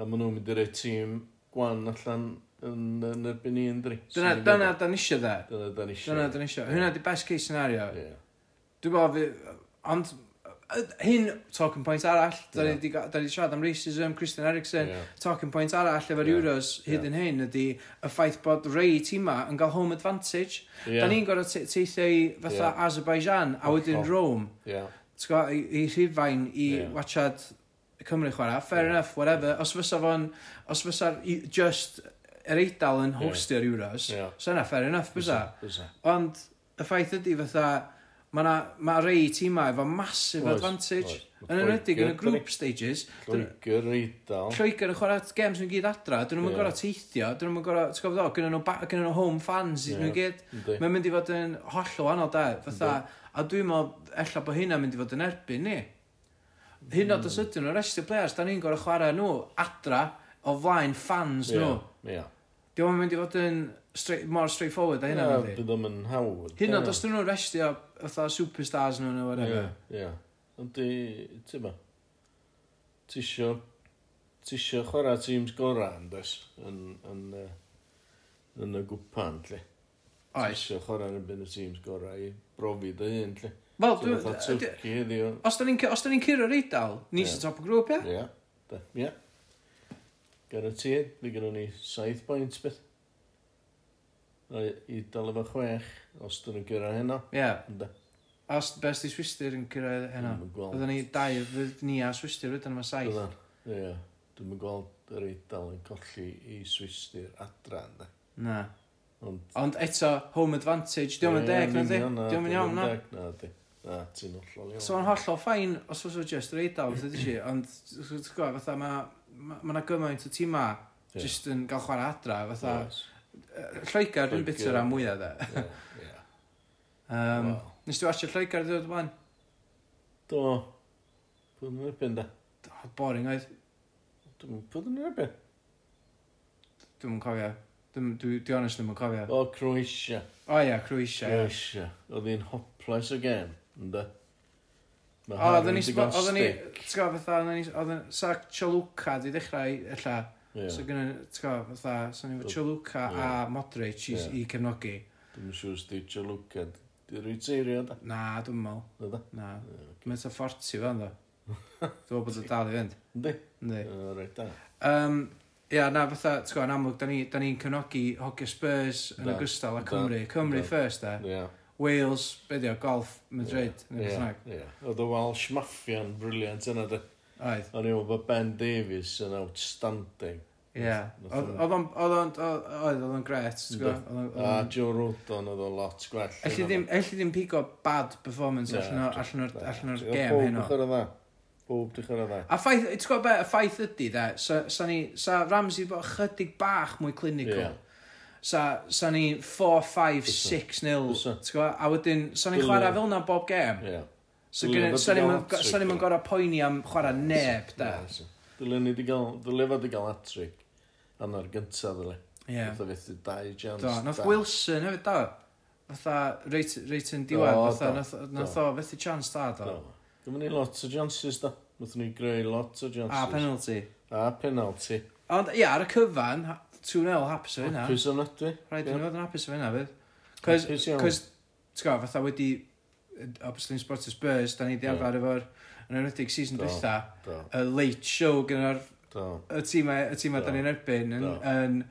Speaker 3: A ma' nhw'n mynd i roi tîm gwan allan yn, yn erbyn ni yndri.
Speaker 2: Dyna,
Speaker 3: Swn i'n
Speaker 2: dyna,
Speaker 3: meddwl.
Speaker 2: da ni isio, da.
Speaker 3: Dyna, dyna eisiau.
Speaker 2: Dyna, da ni isio. Hwna di best case scenario.
Speaker 3: Ie.
Speaker 2: Dwi'n meddwl fi... Ond... y- Hyn, talking point arall. Da ni
Speaker 3: Ie.
Speaker 2: 'di ga- da ni 'di siarad am racism, Christian Eriksen.
Speaker 3: Ie.
Speaker 2: Talking point arall efo'r
Speaker 3: Ie.
Speaker 2: Euros hyd
Speaker 3: Ie.
Speaker 2: yn hyn ydy y ffaith bod rei tîma yn cael home advantage.
Speaker 3: Ie.
Speaker 2: Da ni'n gorfod te- teithio i fatha
Speaker 3: Ie.
Speaker 2: Azerbaijan a wedyn
Speaker 3: Hollol.
Speaker 2: Rome.
Speaker 3: Ie.
Speaker 2: T'go, i, i rhiffain i
Speaker 3: Ie.
Speaker 2: wachad Cymru chwarae. Fair
Speaker 3: Ie.
Speaker 2: enough, whatever. Os fysa fo'n... Os fysa i- just yr eidal yn
Speaker 3: Ie.
Speaker 2: hostio'r Euros,
Speaker 3: Ie.
Speaker 2: so yna fair enough, bysa.
Speaker 3: Bysa.
Speaker 2: Ond y ffaith ydy fatha mae na, ma rei tîmau efo massive
Speaker 3: Oes,
Speaker 2: advantage
Speaker 3: oes. Ma'
Speaker 2: yn enwedig yn y
Speaker 3: Lloegr,
Speaker 2: group stages
Speaker 3: Lloegr Eidal.
Speaker 2: Lloegr yn chwarae games nhw'n gyd adra dyn nhw'n
Speaker 3: Ie.
Speaker 2: yeah. gorau teithio dyn nhw'n gorau ti'n gofod o gynnu nhw, ba- gynnyn nhw home fans
Speaker 3: Ie.
Speaker 2: yeah. nhw'n gyd
Speaker 3: Yndi.
Speaker 2: mae'n mynd i fod yn hollol anodd da fatha a dwi'n meddwl ella bod hynna'n mynd i fod yn erbyn ni hyn
Speaker 3: Hmm.
Speaker 2: oed os ydyn nhw'n restio players da ni'n gorau chwarae nhw adra o flaen fans
Speaker 3: Ie,
Speaker 2: nhw
Speaker 3: Ie.
Speaker 2: dwi'n meddwl mynd i fod yn straight, more straightforward a hynna'n mynd i
Speaker 3: Bydd o'n mynd hawdd.
Speaker 2: Hyn ond os dyn nhw'n restio fatha superstars nhw neu
Speaker 3: Ie,
Speaker 2: whatever.
Speaker 3: ie. Ond di, ti ma, ti isio, ti isio chwarae teams gorau yn des, yn, yn, yy, yn y gwpan, lle. Ti
Speaker 2: Oes.
Speaker 3: isio chwarae yn y byn y teams gorau i brofi dy hun, lle.
Speaker 2: Wel,
Speaker 3: So,
Speaker 2: dwi-
Speaker 3: fatha
Speaker 2: d-
Speaker 3: Turkey ydi o.
Speaker 2: os da ni'n c- os da ni'n curo'r eidl, ni sy'n top y grŵp, ia?
Speaker 3: Ie. De- Ie. Garantid, fi gyda ni 7 pwynt beth. A i dal efo 6, os dyn nhw'n gyrra hynna.
Speaker 2: Ie.
Speaker 3: Ynde.
Speaker 2: A Os best i Swister yn cyrraedd hynna.
Speaker 3: Dwi'm yn gweld.
Speaker 2: Oedden ni dau, fydd ni a Swister wedyn yma saith.
Speaker 3: Ydyn. Ie. Dwi'n gweld yr eidl yn colli i Swistir adran. De.
Speaker 2: Na.
Speaker 3: Ond
Speaker 2: Ond eto, home advantage, diolch yn deg, na di? Diolch yn iawn, na?
Speaker 3: Na, di. Na, ti'n ollol iawn.
Speaker 2: So mae'n hollol ffain os oes o just yr eidl, beth ydy si, ond ti'n gwybod, fatha mae ma, ma 'na gymaint o tîma
Speaker 3: Ie.
Speaker 2: just yn gael chwarae adra, fatha
Speaker 3: Yes.
Speaker 2: yeah. Lloegar yn bitter
Speaker 3: Lloegr.
Speaker 2: am mwyaf de.
Speaker 3: Ie, ie.
Speaker 2: Um,
Speaker 3: Wel.
Speaker 2: Nes ti watch Lloegar ddod o'n
Speaker 3: Do. Pwyd yn erbyn, da.
Speaker 2: Boring oedd,
Speaker 3: Dwi'n- Pwyd yn erbyn.
Speaker 2: dwi'n yn cofio. Dwi'n dwi, dwi honest ddim yn cofio.
Speaker 3: O, Croesia.
Speaker 2: O ia, Croesia. ie.
Speaker 3: Croesia. Oedd hi'n hopeless again, ynda? Mae
Speaker 2: O, oedden ni,
Speaker 3: Harry'n
Speaker 2: sbo-
Speaker 3: digon
Speaker 2: oedden ni,
Speaker 3: stiff.
Speaker 2: ti'n gwybod, fatha, oedden ni, oedden, sa Choluca di dechrau, illa,
Speaker 3: Ie,
Speaker 2: so gynnu, ti'n gwybod, fatha, so ni fo Choluca
Speaker 3: Ie.
Speaker 2: a Modric i,
Speaker 3: Ie.
Speaker 2: i cefnogi.
Speaker 3: Dwi'm yn siŵr os di Joluca. Di rwy teirio, da.
Speaker 2: Na, dwi'n meddwl,
Speaker 3: Ynda?
Speaker 2: na. Mae'n ta 40 fan, ddo. Dwi'n meddwl bod o dal i fynd.
Speaker 3: Yndi?
Speaker 2: Yndi.
Speaker 3: O, reit, da.
Speaker 2: Um, ia, na, fatha, ti'n gwybod, yn amlwg, da ni'n ni cefnogi hogia Spurs yn
Speaker 3: Da.
Speaker 2: ogystal a
Speaker 3: Da.
Speaker 2: Cymru. Cymru
Speaker 3: Da.
Speaker 2: first, da.
Speaker 3: Ie.
Speaker 2: Wales, be di o, golf, Madrid,
Speaker 3: Ie,
Speaker 2: neu beth bynnag.
Speaker 3: Ie. ie. Oedd y Welsh Mafia'n briliant yna, da.
Speaker 2: Oedd,
Speaker 3: O'n i'n meddwl bod Ben Davies yn outstanding.
Speaker 2: ia.
Speaker 3: Nath-
Speaker 2: Oedd
Speaker 3: nath-
Speaker 2: oedd o'n, oedd o'n, oedd oedd o'n gret, ti'n gwybod? Oedd o'n-
Speaker 3: A
Speaker 2: oedd o'n
Speaker 3: Joe Rodon oedd o lot gwell.
Speaker 2: Elli Mm. ddim, elli ddim pigo bad performance
Speaker 3: Na,
Speaker 2: allan o'r,
Speaker 3: dwi-
Speaker 2: allan o'r,
Speaker 3: na.
Speaker 2: allan o'r
Speaker 3: Oedd
Speaker 2: gêm hyn o.
Speaker 3: Pob dychor o dda. Pob dychor o dda.
Speaker 2: A ffaith, ti'n gwybod be, y ffaith ydy, da, sa, sa ni, sa Ramsey bod chydig bach mwy clinical.
Speaker 3: Ie.
Speaker 2: Sa, sa ni 4, 5, 6 nil,
Speaker 3: Fysa.
Speaker 2: ti'n gwybod, a wedyn, sa ni'n
Speaker 3: Dylia.
Speaker 2: chwarae fel na bob gêm.
Speaker 3: Ie.
Speaker 2: So
Speaker 3: Dylia,
Speaker 2: gynny-
Speaker 3: fod
Speaker 2: sa
Speaker 3: i gael
Speaker 2: ni'n
Speaker 3: hat-trick,
Speaker 2: sa ni'n
Speaker 3: ie.
Speaker 2: gorau poeni am chwarae neb, da.
Speaker 3: Na, so. Dylen ni di gael, dylen fod i gael hat-trick. Hanna'r gyntaf ddyle.
Speaker 2: Ie.
Speaker 3: Oedd o fethu dau jans.
Speaker 2: Do, nath Wilson hefyd, da. Fatha, reit, reit yn diwedd,
Speaker 3: Do,
Speaker 2: fatha,
Speaker 3: do,
Speaker 2: nath-
Speaker 3: do.
Speaker 2: nath o, fethu chance da, do.
Speaker 3: Gymru ni lot o janses da. Mwthwn ni greu lot o janses.
Speaker 2: A penalty.
Speaker 3: A penalty.
Speaker 2: Ond ia, ar y cyfan, ha- 2-0 hapus o hynna.
Speaker 3: Pwys o'n adwy.
Speaker 2: Rhaid i ni
Speaker 3: Ie.
Speaker 2: fod yn hapus o hynna, fydd. Cos,
Speaker 3: Hapus iawn.
Speaker 2: cos, ti'n gwybod, fatha wedi, obviously yn Sports Spurs, da ni di
Speaker 3: Ie.
Speaker 2: arfer efo'r, yn enwedig season
Speaker 3: Do.
Speaker 2: dwytha,
Speaker 3: Do,
Speaker 2: y late show gyda'r
Speaker 3: do.
Speaker 2: y tîmau, y tîmau da
Speaker 3: Do.
Speaker 2: ni'n erbyn, yn,
Speaker 3: Do.
Speaker 2: yn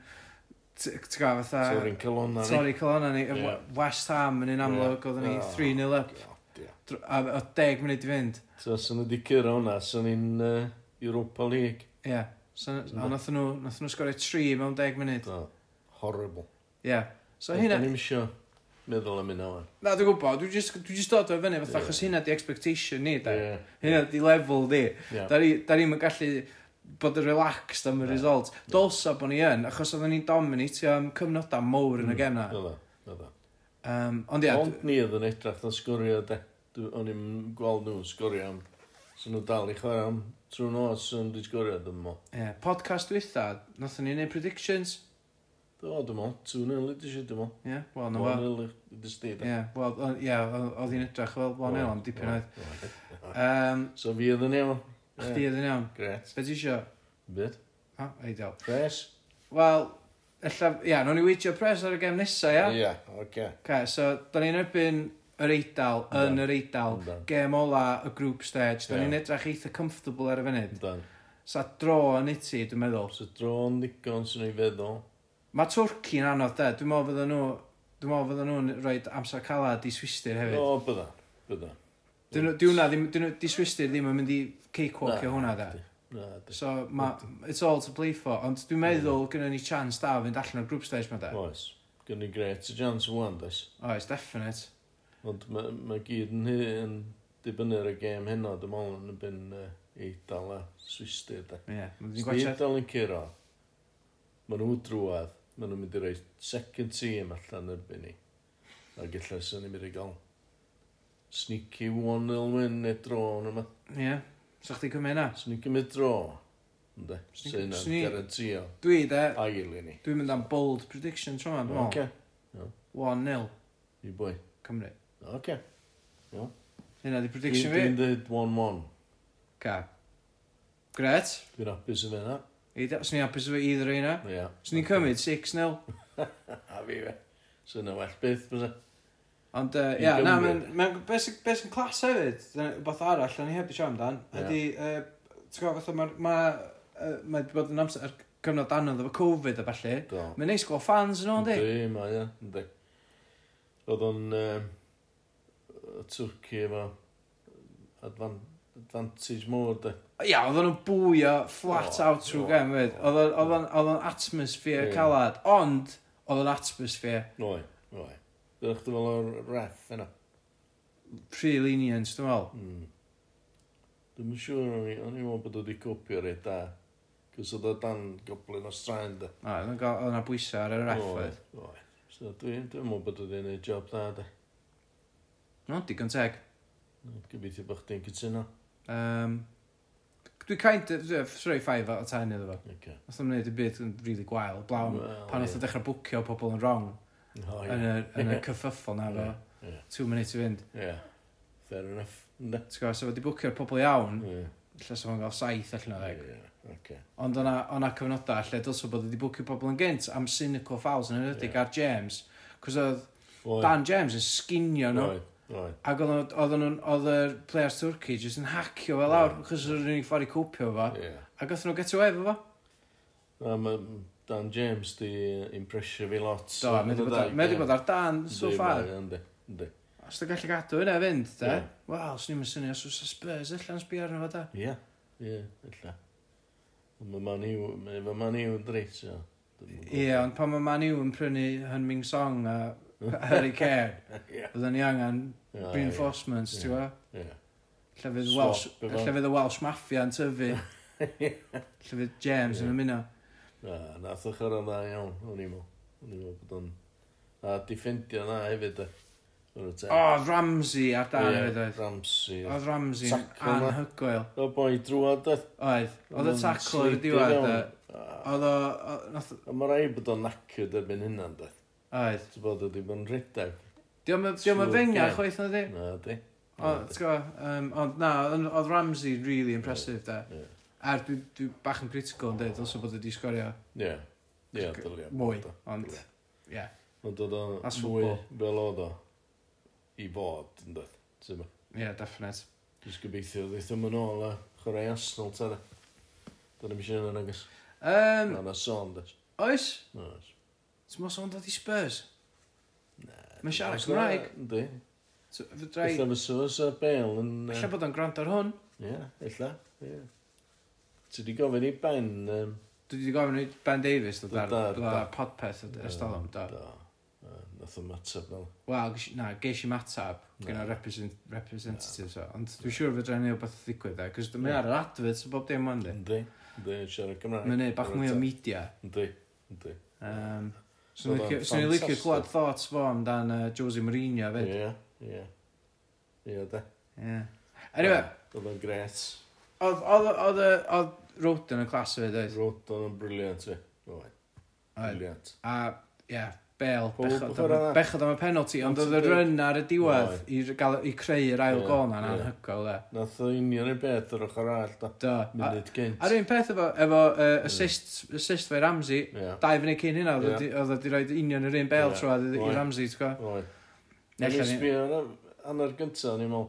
Speaker 2: t- ti'n gwybod, fatha,
Speaker 3: Sorry'n colonna ni.
Speaker 2: torri colonna ni, y
Speaker 3: Ie.
Speaker 2: West Ham yn un amlwg, oedden ni
Speaker 3: Oh.
Speaker 2: 3-0 up,
Speaker 3: Ie.
Speaker 2: dr- a o 10 munud i fynd.
Speaker 3: So, sy'n wedi cyrra hwnna, sy'n ni'n yy, Europa League.
Speaker 2: Ie, so, a nath nhw, nath nhw sgorio 3 mewn 10 munud.
Speaker 3: Do. Horrible.
Speaker 2: Ie, so hynna,
Speaker 3: Dwi'n isio meddwl am hynna o'n.
Speaker 2: Na, dwi'n gwybod, dwi'n just, dwi just dod o fyny fatha,
Speaker 3: Ie.
Speaker 2: achos hynna di expectation ni, da.
Speaker 3: Ie.
Speaker 2: Hynna di level di.
Speaker 3: Ie.
Speaker 2: Da ni- da ni'n gallu bod yn relaxed am y result. Dolsa bod ni yn, achos oedden ni'n dominatio am cyfnodau mowr yn y gemna.
Speaker 3: Ydda, ydda.
Speaker 2: Um, ond ia,
Speaker 3: Mm. Ond ni oedd yn edrach na sgorio, de. Dw- O'n i'n gweld nhw sgorio am... So nhw dal i chwarae am trwy nos yn di sgorio, dwi'n mo.
Speaker 2: d- ie, podcast dwytha, nathon ni'n neud predictions.
Speaker 3: Do, dwi'n mo. 2-0 i di si, dwi'n mo.
Speaker 2: Ie, yeah, wel, na fo.
Speaker 3: 1-0 i di sti, de.
Speaker 2: Ie, wel, o- ie, o- oedd hi'n edrych fel 1-0 am dipyn oedd.
Speaker 3: oedd.
Speaker 2: Um,
Speaker 3: So fi oedd yn iawn.
Speaker 2: Chdi oedd yn iawn.
Speaker 3: Gret.
Speaker 2: Be ti isio?
Speaker 3: Byd.
Speaker 2: Ha, ideal.
Speaker 3: Pres?
Speaker 2: Wel, ella, ia, nawn ni weithio pres ar y gem nesa, ia?
Speaker 3: Ie, oce.
Speaker 2: Okay, so, da ni'n erbyn yr eidal, yn
Speaker 3: Yndan.
Speaker 2: yr eidal,
Speaker 3: Yndan.
Speaker 2: gem ola y group stage, da
Speaker 3: Ie.
Speaker 2: ni'n edrych eitha comfortable ar y funud.
Speaker 3: Dan.
Speaker 2: Sa dro yn iti, dwi'n meddwl.
Speaker 3: So dro'n ddigon sy'n ei feddwl.
Speaker 2: Mae Twrci'n anodd, de, dwi'n meddwl fydden nhw, dwi'n meddwl fydden nhw'n rhoi amser calad i swistir
Speaker 3: O,
Speaker 2: hefyd.
Speaker 3: bydda. Bydda.
Speaker 2: Dyn nhw- Dyn nhw, ddim, dyn nhw, di swistir ddim yn mynd i cakewalkio hwnna,
Speaker 3: Na,
Speaker 2: de.
Speaker 3: Na, di.
Speaker 2: So, ma, it's all to play for, ond dwi'n meddwl gynnu ni chance da o fynd allan o'r group stage ma, de.
Speaker 3: Oes. Gynnu gret. Y jans o'n des.
Speaker 2: Oes, definite.
Speaker 3: Ond mae ma gyd yn, hy- yn dibynnu ar y gêm hynna, dwi'n meddwl yn y byn uh, Eidal a Swistir. Da.
Speaker 2: Ie, yeah,
Speaker 3: Os
Speaker 2: ni'n
Speaker 3: di
Speaker 2: gwachod.
Speaker 3: Eidal yn curo, maen nhw drwad, maen nhw'n mynd i roi second team allan erbyn ni. A gallai sy'n ni'n mynd i gael sneaky 1-0 win neu dro yn yma.
Speaker 2: Ie, sa chdi cymryd na?
Speaker 3: Sneaky mynd dro. Ynddo,
Speaker 2: Sneaky-
Speaker 3: sy'n yna'n
Speaker 2: sne-
Speaker 3: garantio
Speaker 2: Dwi, de,
Speaker 3: ail i ni.
Speaker 2: Dwi'n mynd am bold prediction tro yma, dwi'n meddwl.
Speaker 3: Oce,
Speaker 2: 1-0,
Speaker 3: i bwy.
Speaker 2: Cymru.
Speaker 3: Oce.
Speaker 2: Hynna di prediction fi.
Speaker 3: Dwi'n dweud 1-1.
Speaker 2: Ca. Gret.
Speaker 3: Dwi'n hapus yn fyna.
Speaker 2: Eid- Os ni'n hapus efo either un
Speaker 3: Ie.
Speaker 2: Os ni'n cymryd 6-0.
Speaker 3: A fi fe. So yna well byth, bys e.
Speaker 2: Ond, uh,
Speaker 3: I
Speaker 2: ia, na,
Speaker 3: Gymru.
Speaker 2: mae'n... Ma beth sy'n be sy clas hefyd, dyna rhywbeth arall, o'n i heb i siarad amdan,
Speaker 3: Ie.
Speaker 2: ydy, uh, ti'n gwybod, fatha, mae... Ma, uh, mae wedi bod yn amser ar cyfnod anodd efo Covid a belli.
Speaker 3: Do.
Speaker 2: Mae'n neis gweld fans yn o'n di.
Speaker 3: Yndi, mae e, yndi. Oedd o'n um, Twrci efo advan- advantage môr, de.
Speaker 2: Ia, oedd nhw'n bwio flat
Speaker 3: O,
Speaker 2: out trwy
Speaker 3: o,
Speaker 2: gem, fyd. Oedd o'n- oedd o'n- oedd o'n atmosphere
Speaker 3: Ie.
Speaker 2: calad, ond oedd o'n atmosphere
Speaker 3: Noi, noi. Dych chi'n fel o'r ref yna.
Speaker 2: pre-lenient, dwi'n meddwl.
Speaker 3: Mm. Dwi'n yn siŵr o'n i, o'n i'n meddwl bod wedi copio reit da. Cys oedd o dan goblin o straen, de.
Speaker 2: A, Oedd o'n gael- oedd yna bwysau ar y ref,
Speaker 3: Noi,
Speaker 2: fyd.
Speaker 3: noi. So dwi'n dwi meddwl bod wedi gwneud job da, de.
Speaker 2: No, digon teg.
Speaker 3: Gobeithio bod chdi'n cytuno.
Speaker 2: Um, dwi kind of, dwi- sorry, 5 out of 10 iddo fo.
Speaker 3: Okay.
Speaker 2: Nath o'n wneud y byd yn really gwael, blawn.
Speaker 3: Wel,
Speaker 2: pan oedd
Speaker 3: ie.
Speaker 2: o dechrau bwcio pobl yn wrong
Speaker 3: Oh,
Speaker 2: yn y,
Speaker 3: yeah.
Speaker 2: yn y cyfyffol na fo.
Speaker 3: Ie, ie.
Speaker 2: Two minutes i fynd.
Speaker 3: Yeah. Fair enough. Ne.
Speaker 2: Ti'n gwybod, so wedi bwcio'r pobl iawn,
Speaker 3: Yeah.
Speaker 2: lle sef o'n gael saith allan o ddeg.
Speaker 3: Yeah. Okay.
Speaker 2: Ond o'na, ona cyfnodau lle dylse bod wedi bwcio pobl yn gynt am cynical fouls yn ynrydig
Speaker 3: Ie.
Speaker 2: ar James. Cos oedd
Speaker 3: Oi.
Speaker 2: Dan James yn sginio nhw.
Speaker 3: Oi, oi.
Speaker 2: Ac oedd nhw- oedd nhw'n, oedd y players Twrci jyst yn hacio fel lawr,
Speaker 3: Ie.
Speaker 2: achos oedd yr unig ffordd i cwpio fo.
Speaker 3: Ie.
Speaker 2: Ac oedd nhw get away efo fo.
Speaker 3: Na, ma' Dan James di impresio fi lot.
Speaker 2: Do, mae wedi bod ar- mae 'di bod ar Dan so far.
Speaker 3: Yndi, yndi.
Speaker 2: Os ti'n gallu gadw hynna fynd, da?
Speaker 3: Ie.
Speaker 2: Wel, os ni'n syni os oes y Spurs allan sbio arno fo, da?
Speaker 3: Ie, ie, illa. Mae man i'w, mae fy man i'w dris, o.
Speaker 2: Ie, ond pan mae Man U yn prynu Hunming Song a Harry Care,
Speaker 3: Ie.
Speaker 2: byddwn ni angen
Speaker 3: Ah, Ie,
Speaker 2: reinforcements,
Speaker 3: ie.
Speaker 2: ti'n gwybod?
Speaker 3: Ie.
Speaker 2: Lle fydd
Speaker 3: Swap,
Speaker 2: Welsh,
Speaker 3: be' fel?
Speaker 2: lle fydd y Welsh Mafia yn tyfu. Lle fydd James
Speaker 3: Ie.
Speaker 2: yn ymuno.
Speaker 3: Na, nath o chyrra dda iawn, o'n i'n meddwl. O'n i'n meddwl bod o'n... A diffendio na hefyd, e. O'r
Speaker 2: O, oedd Ramsey ar dan hefyd oedd.
Speaker 3: Ramsey.
Speaker 2: Oedd Ramsey yn
Speaker 3: Tackle na.
Speaker 2: anhygoel.
Speaker 3: O boi drwad, e.
Speaker 2: Oedd. Oedd y
Speaker 3: O'n
Speaker 2: tackle ar y
Speaker 3: sleepy
Speaker 2: diwedd.
Speaker 3: fewn.
Speaker 2: yy,
Speaker 3: A-
Speaker 2: Oedd o... o- nath-
Speaker 3: A mae rai bod o'n nacyd erbyn hynna, de.
Speaker 2: Oedd.
Speaker 3: Ti'n bod wedi bod yn rhedeg?
Speaker 2: Diolch yn
Speaker 3: Smooth
Speaker 2: fengar
Speaker 3: game.
Speaker 2: chwaith na di.
Speaker 3: Na, di.
Speaker 2: O, ti'n gwybod, um, ond na, oedd- oedd Ramsey really impressive da.
Speaker 3: Ie.
Speaker 2: Er dwi, dwi bach yn critical yn dweud, os o bod wedi sgorio
Speaker 3: Ie. Ie, dylia.
Speaker 2: mwy,
Speaker 3: Do.
Speaker 2: ond,
Speaker 3: Ie.
Speaker 2: ie.
Speaker 3: Ond oedd o'n
Speaker 2: As
Speaker 3: mwy
Speaker 2: football.
Speaker 3: fel oedd o i fod, yn dweud. Ti'n bod?
Speaker 2: Ie, definite.
Speaker 3: Dwi'n gobeithio ddeith yn ôl a chwarae Arsenal, ta de. Dyna mi sy'n yn agos.
Speaker 2: Um,
Speaker 3: Na, na son, de.
Speaker 2: oes,
Speaker 3: Na, oes.
Speaker 2: ti'n mwyn sôn dod i Spurs? Mae siarad
Speaker 3: Os na,
Speaker 2: Cymraeg.
Speaker 3: Yndi.
Speaker 2: T- Fydrai,
Speaker 3: Illa fy sŵs a Bale yn... yy,
Speaker 2: lle bod o'n gwrando ar hwn,
Speaker 3: Ie, illa. Ie. Ti di gofyn i Ben... yym,
Speaker 2: dwi wedi gofyn i Ben Davies dod ar
Speaker 3: Dod ar-
Speaker 2: dod ar
Speaker 3: dod.
Speaker 2: podpeth y- ers dalwm, do.
Speaker 3: Do. Yy, Nath o mateb fel.
Speaker 2: Wel, gesh- na, geis i matab gyda
Speaker 3: Na.
Speaker 2: representatives o, ond dwi'n siŵr fydrai ni o beth ddigwydd da, cos dwi'n mynd ar yr adfyd sy'n bob dim ond di.
Speaker 3: Yndi. Yndi, siarad Cymraeg.
Speaker 2: Mae'n neud bach mwy o
Speaker 3: Reit,
Speaker 2: media.
Speaker 3: Yndi, yndi.
Speaker 2: Um, so
Speaker 3: Oedd
Speaker 2: ni'n licio-
Speaker 3: o'n
Speaker 2: so ni'n licio
Speaker 3: fantastic.
Speaker 2: clywed thoughts fo amdan uh, Jose Mourinho fyd.
Speaker 3: Ie, ie. Ie, de.
Speaker 2: Yeah. Anyway,
Speaker 3: Oedd o'n gret.
Speaker 2: oedd oedd oedd y- oedd Roden yn clas fyd oedd.
Speaker 3: Rwt o'n yn briliant, fi. Oedd,
Speaker 2: Oedd.
Speaker 3: briliant.
Speaker 2: A ie, Bale,
Speaker 3: Pob-
Speaker 2: bechod
Speaker 3: pob
Speaker 2: am-
Speaker 3: hwnna.
Speaker 2: bechod am y penalty, ond oedd y
Speaker 3: Ti'n deud.
Speaker 2: run ar y diwedd i, r- gael, i creu yr ail
Speaker 3: Ie,
Speaker 2: gol na'n
Speaker 3: ie.
Speaker 2: anhygoel e.
Speaker 3: Nath o union i beth yr ochr all, da.
Speaker 2: Do. A-
Speaker 3: Munud gynt.
Speaker 2: A'r un peth efo, efo uh, assist, assist fe Ramsey,
Speaker 3: Ie.
Speaker 2: dau fyny cyn hynna, oedd o
Speaker 3: Ie.
Speaker 2: 'di- oedd wedi rhoi union yr un Bale
Speaker 3: Ie.
Speaker 2: troedd i- i
Speaker 3: Oedd.
Speaker 2: Ramsey, ti'n gwybod?
Speaker 3: Oedd.
Speaker 2: Nella
Speaker 3: Nes
Speaker 2: ni-
Speaker 3: fi ar hanner gyntaf, ni'n meddwl,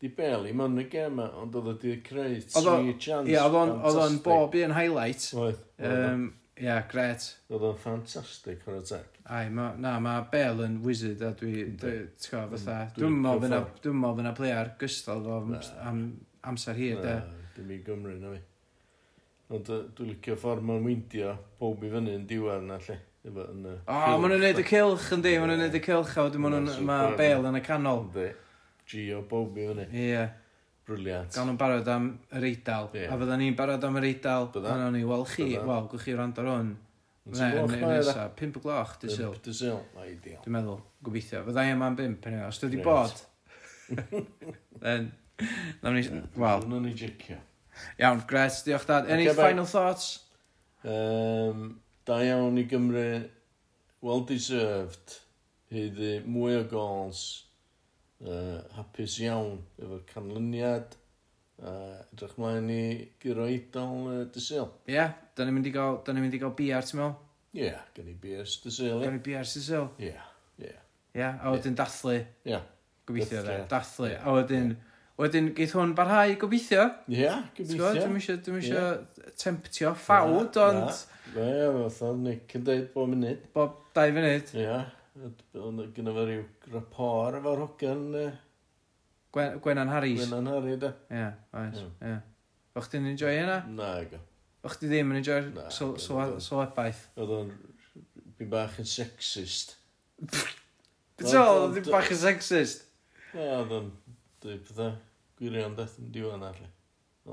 Speaker 3: di bel i mewn y gema, ond oedd wedi creu
Speaker 2: Oedd o-
Speaker 3: tri chance.
Speaker 2: Ie, oedd o'n- oedd o'n
Speaker 3: fantastic.
Speaker 2: bob un highlight.
Speaker 3: Oedd. oedd o.
Speaker 2: Um, Ie, gret.
Speaker 3: Oedd o'n ffantastig, hwn o teg.
Speaker 2: Ai, ma, na, mae Bale yn wizard a dwi, dwi ti'n gwybod, fatha,
Speaker 3: Mm, Dwi'n-
Speaker 2: dwi'n meddwl fyna,
Speaker 3: confirm.
Speaker 2: dwi'n meddwl fyna player gystal o am,
Speaker 3: Na.
Speaker 2: am, amser hir, de.
Speaker 3: Dim i Gymru na fi. Ond yy, dwi'n licio ffordd ma'n weindio pob i fyny yn diwedd na lle. Efo yn y...
Speaker 2: O, oh, maen nhw'n neud y cilch yn di, maen nhw'n
Speaker 3: Ie.
Speaker 2: neud y cilch a wedyn maen nhw'n,
Speaker 3: Ma'n
Speaker 2: mae
Speaker 3: superb.
Speaker 2: Bale yn y canol.
Speaker 3: Yndi. Gio pob i fyny.
Speaker 2: Ie,
Speaker 3: Briliant.
Speaker 2: gan nhw'n barod am yr eidal,
Speaker 3: Ie.
Speaker 2: a fydda ni'n barod am yr eidal,
Speaker 3: Bydda.
Speaker 2: a nawn ni, wel chi,
Speaker 3: Bydda.
Speaker 2: wel, gwch chi rand ar hwn,
Speaker 3: Yn
Speaker 2: Ne,
Speaker 3: Sir Goch,
Speaker 2: ne-
Speaker 3: mae e, da?
Speaker 2: nesa, pimp o gloch, dy syl,
Speaker 3: Pump dy sil. Ideal.
Speaker 2: dwi'n meddwl, gobeithio, fydda i yma'n bimp, anyway, os dwi wedi bod,
Speaker 3: Brilliant.
Speaker 2: then, nawn ni, wel,
Speaker 3: Hwnnw ni jicio.
Speaker 2: iawn, gret, diolch dad, any
Speaker 3: Ocê, bye.
Speaker 2: final thoughts?
Speaker 3: Um, da iawn i Gymru. Well deserved. Hyd i mwy o gols. Uh, hapus iawn efo'r canlyniad. Uh, edrych mlaen i gyro eidol uh, dy sil.
Speaker 2: Ie, yeah, da ni'n mynd i gael, da ni'n mynd i gael BR, ti'n meddwl?
Speaker 3: Ie, yeah, gen i BS dy sil.
Speaker 2: Da
Speaker 3: ie.
Speaker 2: ni BR sy'n syl.
Speaker 3: Ie, ie.
Speaker 2: Ia, a wedyn dathlu.
Speaker 3: Ie.
Speaker 2: Gobeithio
Speaker 3: Dathlu,
Speaker 2: dde,
Speaker 3: ie.
Speaker 2: dathlu. A wedyn, wedyn geith hwn barhau gobeithio.
Speaker 3: Ie,
Speaker 2: Gobeithio?
Speaker 3: gobeithio.
Speaker 2: Dwi'n eisiau, dwi'n eisiau temptio ffawd, ond
Speaker 3: Ie, fatha Nick yn dweud bob munud.
Speaker 2: bob dau funud.
Speaker 3: Ie. Ond gyda fe rhyw rapor efo'r hogan eh,
Speaker 2: Gwen- Gwenan Harris.
Speaker 3: Gwenan Hmm. Harry, da.
Speaker 2: Ie, oes,
Speaker 3: Ie.
Speaker 2: ie. O'ch ti'n enjoy hynna?
Speaker 3: Na, go.
Speaker 2: O'ch ti ddim yn enjoy'r
Speaker 3: Na,
Speaker 2: syl-
Speaker 3: dim
Speaker 2: syl-
Speaker 3: ond-
Speaker 2: sylwebaeth?
Speaker 3: Oedd o'n byn bach yn sexist.
Speaker 2: Beth
Speaker 3: Wel,
Speaker 2: ôl,
Speaker 3: d-
Speaker 2: ddim bach yn sexist.
Speaker 3: Na, oedd o'n dweud pethau gwirion deth yn diwan allu.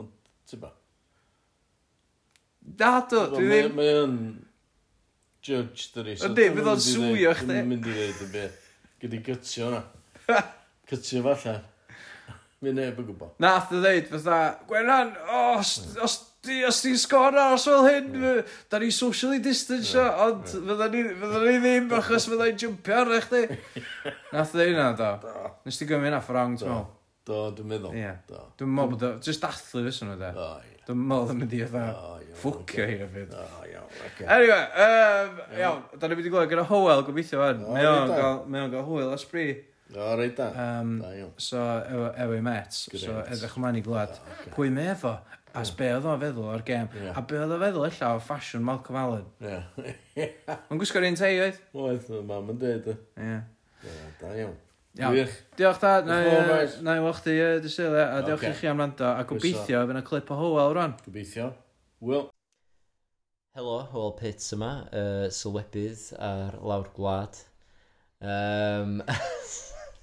Speaker 3: Ond, ti'n ba?
Speaker 2: Na, do, dwi
Speaker 3: Mae-
Speaker 2: ddim.
Speaker 3: Mae o'n judge dyri.
Speaker 2: Yndi, bydd o'n swio chdi.
Speaker 3: Dwi'n mynd i ddeud y beth. Gyda'i gytio hwnna. Cytio falle. Mi neb yn gwybod.
Speaker 2: Na, ath o ddeud, fatha, Gwenan, o, os, os, di- os ti'n sgor aros fel hyn,
Speaker 3: Hmm.
Speaker 2: fy- da ni socially distansio, ond fydda ni fydda ni ddim achos fydda i'n jumpio ar eich di. Nath o ddeud na, do. Nes ti gymryd na ffrang, ti'n
Speaker 3: Do.
Speaker 2: meddwl?
Speaker 3: Do, dwi'n meddwl.
Speaker 2: Ie.
Speaker 3: Do. Hmm.
Speaker 2: Dwi'n meddwl bod o, just dathlu fysa nhw, de.
Speaker 3: O, ie.
Speaker 2: Dwi'n meddwl yn mynd i, fatha,
Speaker 3: O, iawn,
Speaker 2: ffwcio hi o fydd.
Speaker 3: O, iawn, oce.
Speaker 2: Anyway, um, iawn, da ni'n mynd i glywed gyda Howell gobeithio fan.
Speaker 3: O,
Speaker 2: Mae o'n
Speaker 3: reit, da.
Speaker 2: gael, mae o'n gael Howell ysbri.
Speaker 3: O, reit da.
Speaker 2: Um,
Speaker 3: Da, iawn.
Speaker 2: so, efo, efo i Mets, so
Speaker 3: Grêt.
Speaker 2: edrych ymlaen i glywed.
Speaker 3: Oh,
Speaker 2: Pwy mae efo? As be oedd o'n feddwl o'r gêm.
Speaker 3: Ie.
Speaker 2: A be oedd o'n feddwl illa o ffasiwn Malcolm Allen.
Speaker 3: Ie.
Speaker 2: Mae'n gwisgo'r un tei oedd?
Speaker 3: Oedd, mae mam yn dweud.
Speaker 2: Ie.
Speaker 3: Da, iawn.
Speaker 2: Iawn.
Speaker 3: Gwych.
Speaker 2: Diolch da, na
Speaker 3: Diolch yn fawr, guys.
Speaker 2: i wach di yy, dy sylw, a diolch i
Speaker 3: Ocê.
Speaker 2: chi am rando, a gobeithio fydd yna clip o Howell rwan.
Speaker 3: Gobeithio. Wel,
Speaker 4: Helo, Hwyl Pits yma, uh, sylwebydd ar lawr gwlad. Um,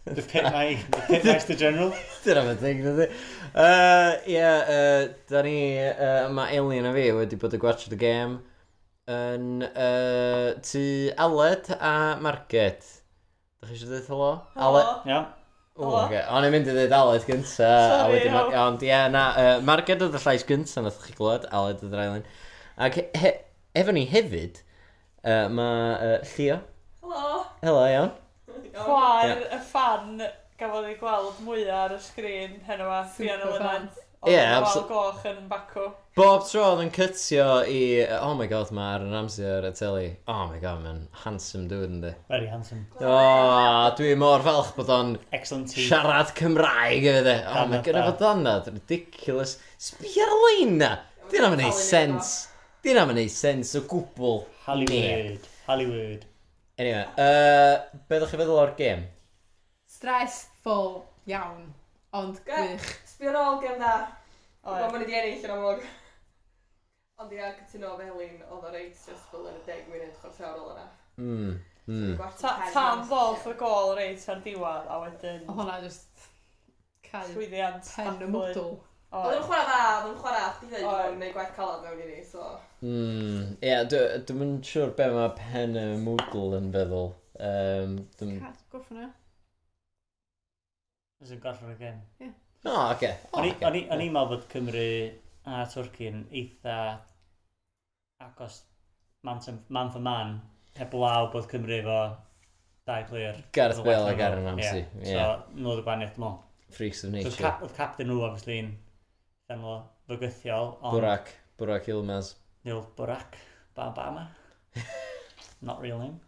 Speaker 5: The pit eye, the pit eye's the general.
Speaker 4: Dyna fe dig, dydy. Uh, Ie, yy, da ni, uh, mae Alien a fi wedi bod y gwarchod y gêm yn uh, tu Aled a Market. Da chi eisiau dweud helo? Aled.
Speaker 5: Iawn.
Speaker 4: O, oce. O'n i'n mynd i dweud Aled gynta. a wedyn Mar- Ond ie, na, uh, Market oedd y llais gynta nath chi glod, Aled oedd yr Alien. Ac he- he, efo ni hefyd, uh, mae uh, Llio.
Speaker 6: Helo,
Speaker 4: Helo, iawn.
Speaker 6: chwaer y fan gafodd ei gweld mwyaf ar y sgrin heno a Fiona Lynant.
Speaker 4: Ie,
Speaker 6: absolutely.
Speaker 4: absol-
Speaker 6: goch yn bacw.
Speaker 4: Bob tro oedd yn cytio i... Oh my god, mae Aaron Ramsey ar y teli. Oh my god, mae'n handsome dude yndi.
Speaker 5: Very handsome.
Speaker 4: O, dwi mor falch bod o'n
Speaker 5: Excellent teeth.
Speaker 4: siarad Cymraeg efo de. Oh my
Speaker 5: Dannedd
Speaker 4: god,
Speaker 5: da.
Speaker 4: efo dannad, ridiculous. Sbi ar y lein na. Di na ma'n neud sens. Di na ma'n neud sens o gwbl. Ne.
Speaker 5: Hollywood. Hollywood.
Speaker 4: Anyway, uh, be ddech chi feddwl o'r gêm?
Speaker 7: Stressful iawn, ond
Speaker 6: Ge-
Speaker 7: gwych.
Speaker 6: Sbio ôl gem da.
Speaker 8: Mae ma'n wedi ennill yn amlwg. Ond ia, cytuno fel un, oedd o reit stressful yn y deg munud chwrthiorol yna.
Speaker 4: Mm, mm.
Speaker 6: Tam ddoth y gol reit ar diwad a wedyn
Speaker 7: O hwnna just cael
Speaker 6: swyddiant.
Speaker 7: pen y
Speaker 6: dathlu.
Speaker 7: mwdl.
Speaker 8: Oedd
Speaker 6: Oedd.
Speaker 8: o'n chwarae dda, oedd o'n chwarae chdi dweud
Speaker 6: Oedd.
Speaker 8: bod o'n gwneud gwaith calad mewn i ni, so...
Speaker 4: Mm, ie, yeah, dwi'n yn siŵr be mae pen y Moodle yn feddwl. Um, dwi'n...
Speaker 7: Goffwn e.
Speaker 5: Ys yn gorffen y gêm.
Speaker 4: O, oh, oce. Okay.
Speaker 5: O'n i- o'n i- o'n i'n meddwl bod Cymru a Twrci yn eitha agos man, to, man for man heblaw bod Cymru efo dau player.
Speaker 4: Gareth
Speaker 5: Oedd y
Speaker 4: Bale
Speaker 5: well
Speaker 4: ac Aaron
Speaker 5: known.
Speaker 4: Ramsey,
Speaker 5: Ie.
Speaker 4: ie.
Speaker 5: So, nhw oedd y gwaniaeth dwi'n meddwl.
Speaker 4: Freaks of
Speaker 5: So,
Speaker 4: Nature.
Speaker 5: oedd cap- oedd captain nhw, obviously, yn ffenlo fygythiol, ond...
Speaker 4: Bwrac. Bwrac Ilmaz.
Speaker 5: Neil Barack Obama. Not real name.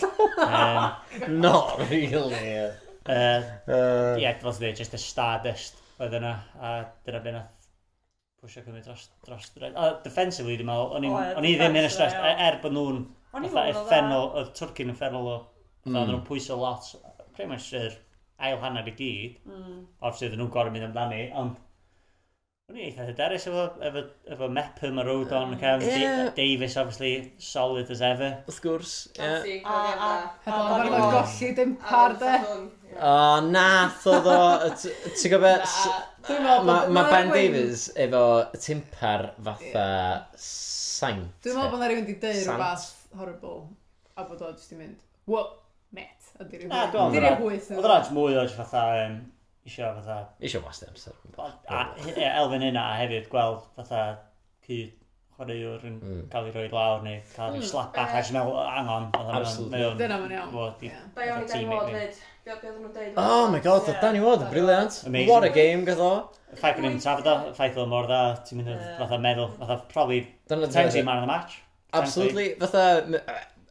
Speaker 5: um,
Speaker 4: Not really.
Speaker 5: uh,
Speaker 4: Uh,
Speaker 5: yeah, fel dweud, just y stardust oedd yna, a dyna be nath pwysio Cymru dros, dros dred. A defensively, dwi'n meddwl, o'n
Speaker 6: Oedd,
Speaker 5: i- o'n i ddim yn y stress,
Speaker 6: defensively,
Speaker 5: er bod nhw'n
Speaker 6: O'n i'n
Speaker 5: fatha
Speaker 6: meddwl
Speaker 5: effennol, oedd Twrci'n effennol o,
Speaker 4: Mm.
Speaker 5: fatha oedden nhw'n pwyso lot, pretty much yr ail hanner i gyd,
Speaker 6: Hmm.
Speaker 5: obviously oedden nhw'n gorau mynd amdani, ond O'n i eitha hyderus efo, efo, efo Mepham a
Speaker 6: Hmm.
Speaker 5: Rodon, um,
Speaker 4: Ie.
Speaker 5: Davies obviously solid as ever.
Speaker 4: wrth gwrs, ie.
Speaker 8: Fancy,
Speaker 6: A-
Speaker 8: gwyddiad
Speaker 6: a-
Speaker 8: dda.
Speaker 7: Hedfan,
Speaker 6: A-
Speaker 7: mae'n
Speaker 6: a-
Speaker 7: rhaid golli dim e.
Speaker 8: A
Speaker 7: par de.
Speaker 8: Wilson, ie.
Speaker 4: O, nath oedd o... t- Ti'n gwybod... s-
Speaker 7: Dwi'n meddwl
Speaker 4: Ma, ma
Speaker 7: bod- ma'
Speaker 4: Ben
Speaker 7: rywun-
Speaker 4: Davies efo timpar fatha saint.
Speaker 7: Dwi'n meddwl bod na rhywun wedi deud
Speaker 4: Sant.
Speaker 7: rhywbeth horrible, a bod o jyst i mynd, wo, met, a di
Speaker 5: Na,
Speaker 7: rhywbeth.
Speaker 5: dwi'n
Speaker 7: Di
Speaker 5: meddwl.
Speaker 7: rhywbeth.
Speaker 5: Oedd rhaid mwy o jyst fatha, um, isio fatha
Speaker 4: Isio wast amser.
Speaker 5: A hy- ie, elfen yna a hefyd gweld fatha cyd chwaraewr yn
Speaker 4: Mm.
Speaker 5: cael ei roi lawr neu cael ei slap back a jyst meddwl "O, angon. fatha,
Speaker 4: Absolutely.
Speaker 5: mae o'n-
Speaker 7: Hmm, Dyna ma'n iawn.
Speaker 5: Wel, di-
Speaker 7: Ie.
Speaker 8: Da iawn i
Speaker 5: fatha
Speaker 8: Danny
Speaker 5: teammate
Speaker 8: Ward
Speaker 5: ni.
Speaker 8: dweud. Be oedd nhw'n dweud?
Speaker 4: Oh my god, oedd Danny Ward yn briliant.
Speaker 5: Amazing.
Speaker 4: What a game gath o.
Speaker 5: Y ffaith bod ni'n trafod o, y ffaith bod o mor dda, ti'n mynd o fatha meddwl, fatha probably
Speaker 4: Dyna
Speaker 5: potentially man of the match.
Speaker 4: Absolutely, fatha m-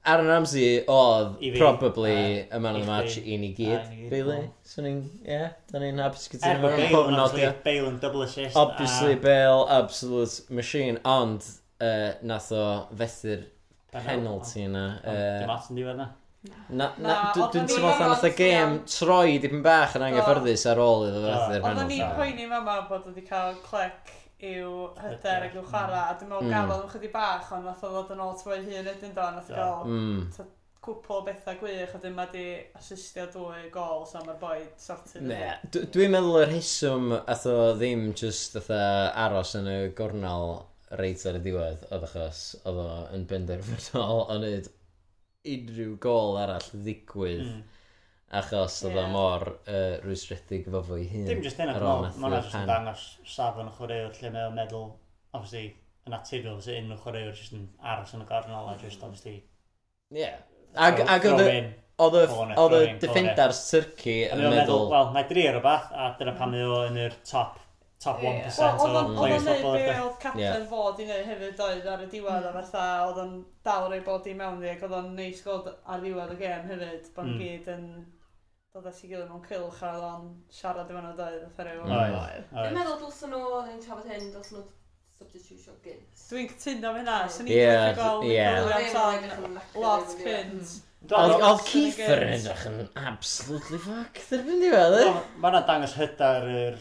Speaker 4: Aaron Ramsey oedd
Speaker 5: I fi,
Speaker 4: probably
Speaker 5: a-
Speaker 4: y man of the
Speaker 5: i
Speaker 4: match
Speaker 5: chdi.
Speaker 4: i ni
Speaker 5: A i ni
Speaker 4: gyd,
Speaker 5: gyd,
Speaker 4: really.
Speaker 5: wel.
Speaker 4: So ni'n, ie, da ni'n hapus gyda
Speaker 5: Er bod
Speaker 4: ni.
Speaker 5: Bale
Speaker 4: Pob
Speaker 5: yn Ah.
Speaker 4: yn
Speaker 5: obviously,
Speaker 4: nodio.
Speaker 5: Bale yn double assist.
Speaker 4: Obviously,
Speaker 5: a
Speaker 4: Bale, absolute machine. Ond, uh, nath o fethu'r penalty yna.
Speaker 5: Dim
Speaker 4: Uh,
Speaker 5: at yn diwedd na.
Speaker 4: na, na,
Speaker 6: Na,
Speaker 4: dw-
Speaker 6: ond
Speaker 4: dwi'n
Speaker 6: o'n
Speaker 4: teimlo
Speaker 6: i'n
Speaker 4: fatha nath y
Speaker 8: meddwl,
Speaker 4: gêm
Speaker 8: iawn.
Speaker 4: troi dipyn bach yn anghyfforddus ar ôl iddo
Speaker 5: Do.
Speaker 4: fethu'r
Speaker 6: Oedden
Speaker 4: penalty.
Speaker 6: ni'n poeni fama bod wedi cael clec i'w hyder ac i'w chwarae, a dwi'n meddwl
Speaker 4: Mm.
Speaker 6: gafodd yn chydig bach, ond nath o ddod yn ôl trwy hun ydyn do, nath o
Speaker 5: Do.
Speaker 6: gael
Speaker 4: Mm.
Speaker 6: cwpl o bethau gwych, a dyma di asistio dwy gol, so mae'r boed sorted.
Speaker 4: Ne, d- dwi'n meddwl yr heswm ath o ddim just atho aros yn y gornal reit ar y diwedd oedd achos oedd o yn benderfynol o wneud unrhyw gol arall ddigwydd
Speaker 5: Mm.
Speaker 4: achos oedd o
Speaker 6: Ie.
Speaker 4: mor uh, rwysredig fo fo'i hun.
Speaker 5: Dim just hynna,
Speaker 4: ar ôl
Speaker 5: mae
Speaker 4: methu'r
Speaker 5: hwnna jyst
Speaker 4: pen.
Speaker 5: yn dangos safon y chwaraewr lle mae'n meddwl, obviously, yn naturiol, sy'n unrhyw chwaraewr jyst yn aros yn y gornel a jyst, obviously,
Speaker 4: Ie. Ag,
Speaker 5: throw-
Speaker 4: ag
Speaker 5: throw
Speaker 4: oedd y-
Speaker 5: in.
Speaker 4: oedd y
Speaker 5: Corner,
Speaker 4: oedd y
Speaker 5: throwing,
Speaker 4: defendars Turkey
Speaker 5: A
Speaker 4: yn
Speaker 5: mae o'n meddwl,
Speaker 4: meddwl... Mm.
Speaker 5: wel, mae dri ar rhywbeth, a dyna pan mae o yn yr top, top
Speaker 6: Wel,
Speaker 5: 1% o
Speaker 6: oedd o'n- oedd
Speaker 5: players
Speaker 6: o'n
Speaker 5: football.
Speaker 6: neud be
Speaker 5: ynde?
Speaker 6: oedd captain
Speaker 4: Ie.
Speaker 6: fod i neud hefyd oedd ar y diwedd a fatha oedd o'n dal rei bod i mewn i ac oedd o'n neis gweld ar ddiwedd y gêm hefyd bod
Speaker 5: Mm.
Speaker 6: mm. gyd yn dod at ei gilydd mewn cilch a oedd o'n siarad efo nhw doedd fatha rhyw
Speaker 4: Mm. Oedd.
Speaker 8: Dwi'n
Speaker 5: Oedd.
Speaker 8: meddwl dylsyn nhw, oedd ni'n trafod hyn, dylsyn nhw substitution gynt.
Speaker 6: Dwi'n cytuno fe hynna, sy'n
Speaker 4: Ie,
Speaker 6: ni'n gallu gweld
Speaker 4: ie.
Speaker 6: Williams o'n lot cynt
Speaker 4: Oedd
Speaker 5: Do,
Speaker 4: oedd
Speaker 6: Os yn y
Speaker 4: Keith yn
Speaker 6: games.
Speaker 4: edrych yn absolutely fuck dderbyn diwedd,
Speaker 5: do,
Speaker 4: e?
Speaker 5: Mae yna dangos hyder yr,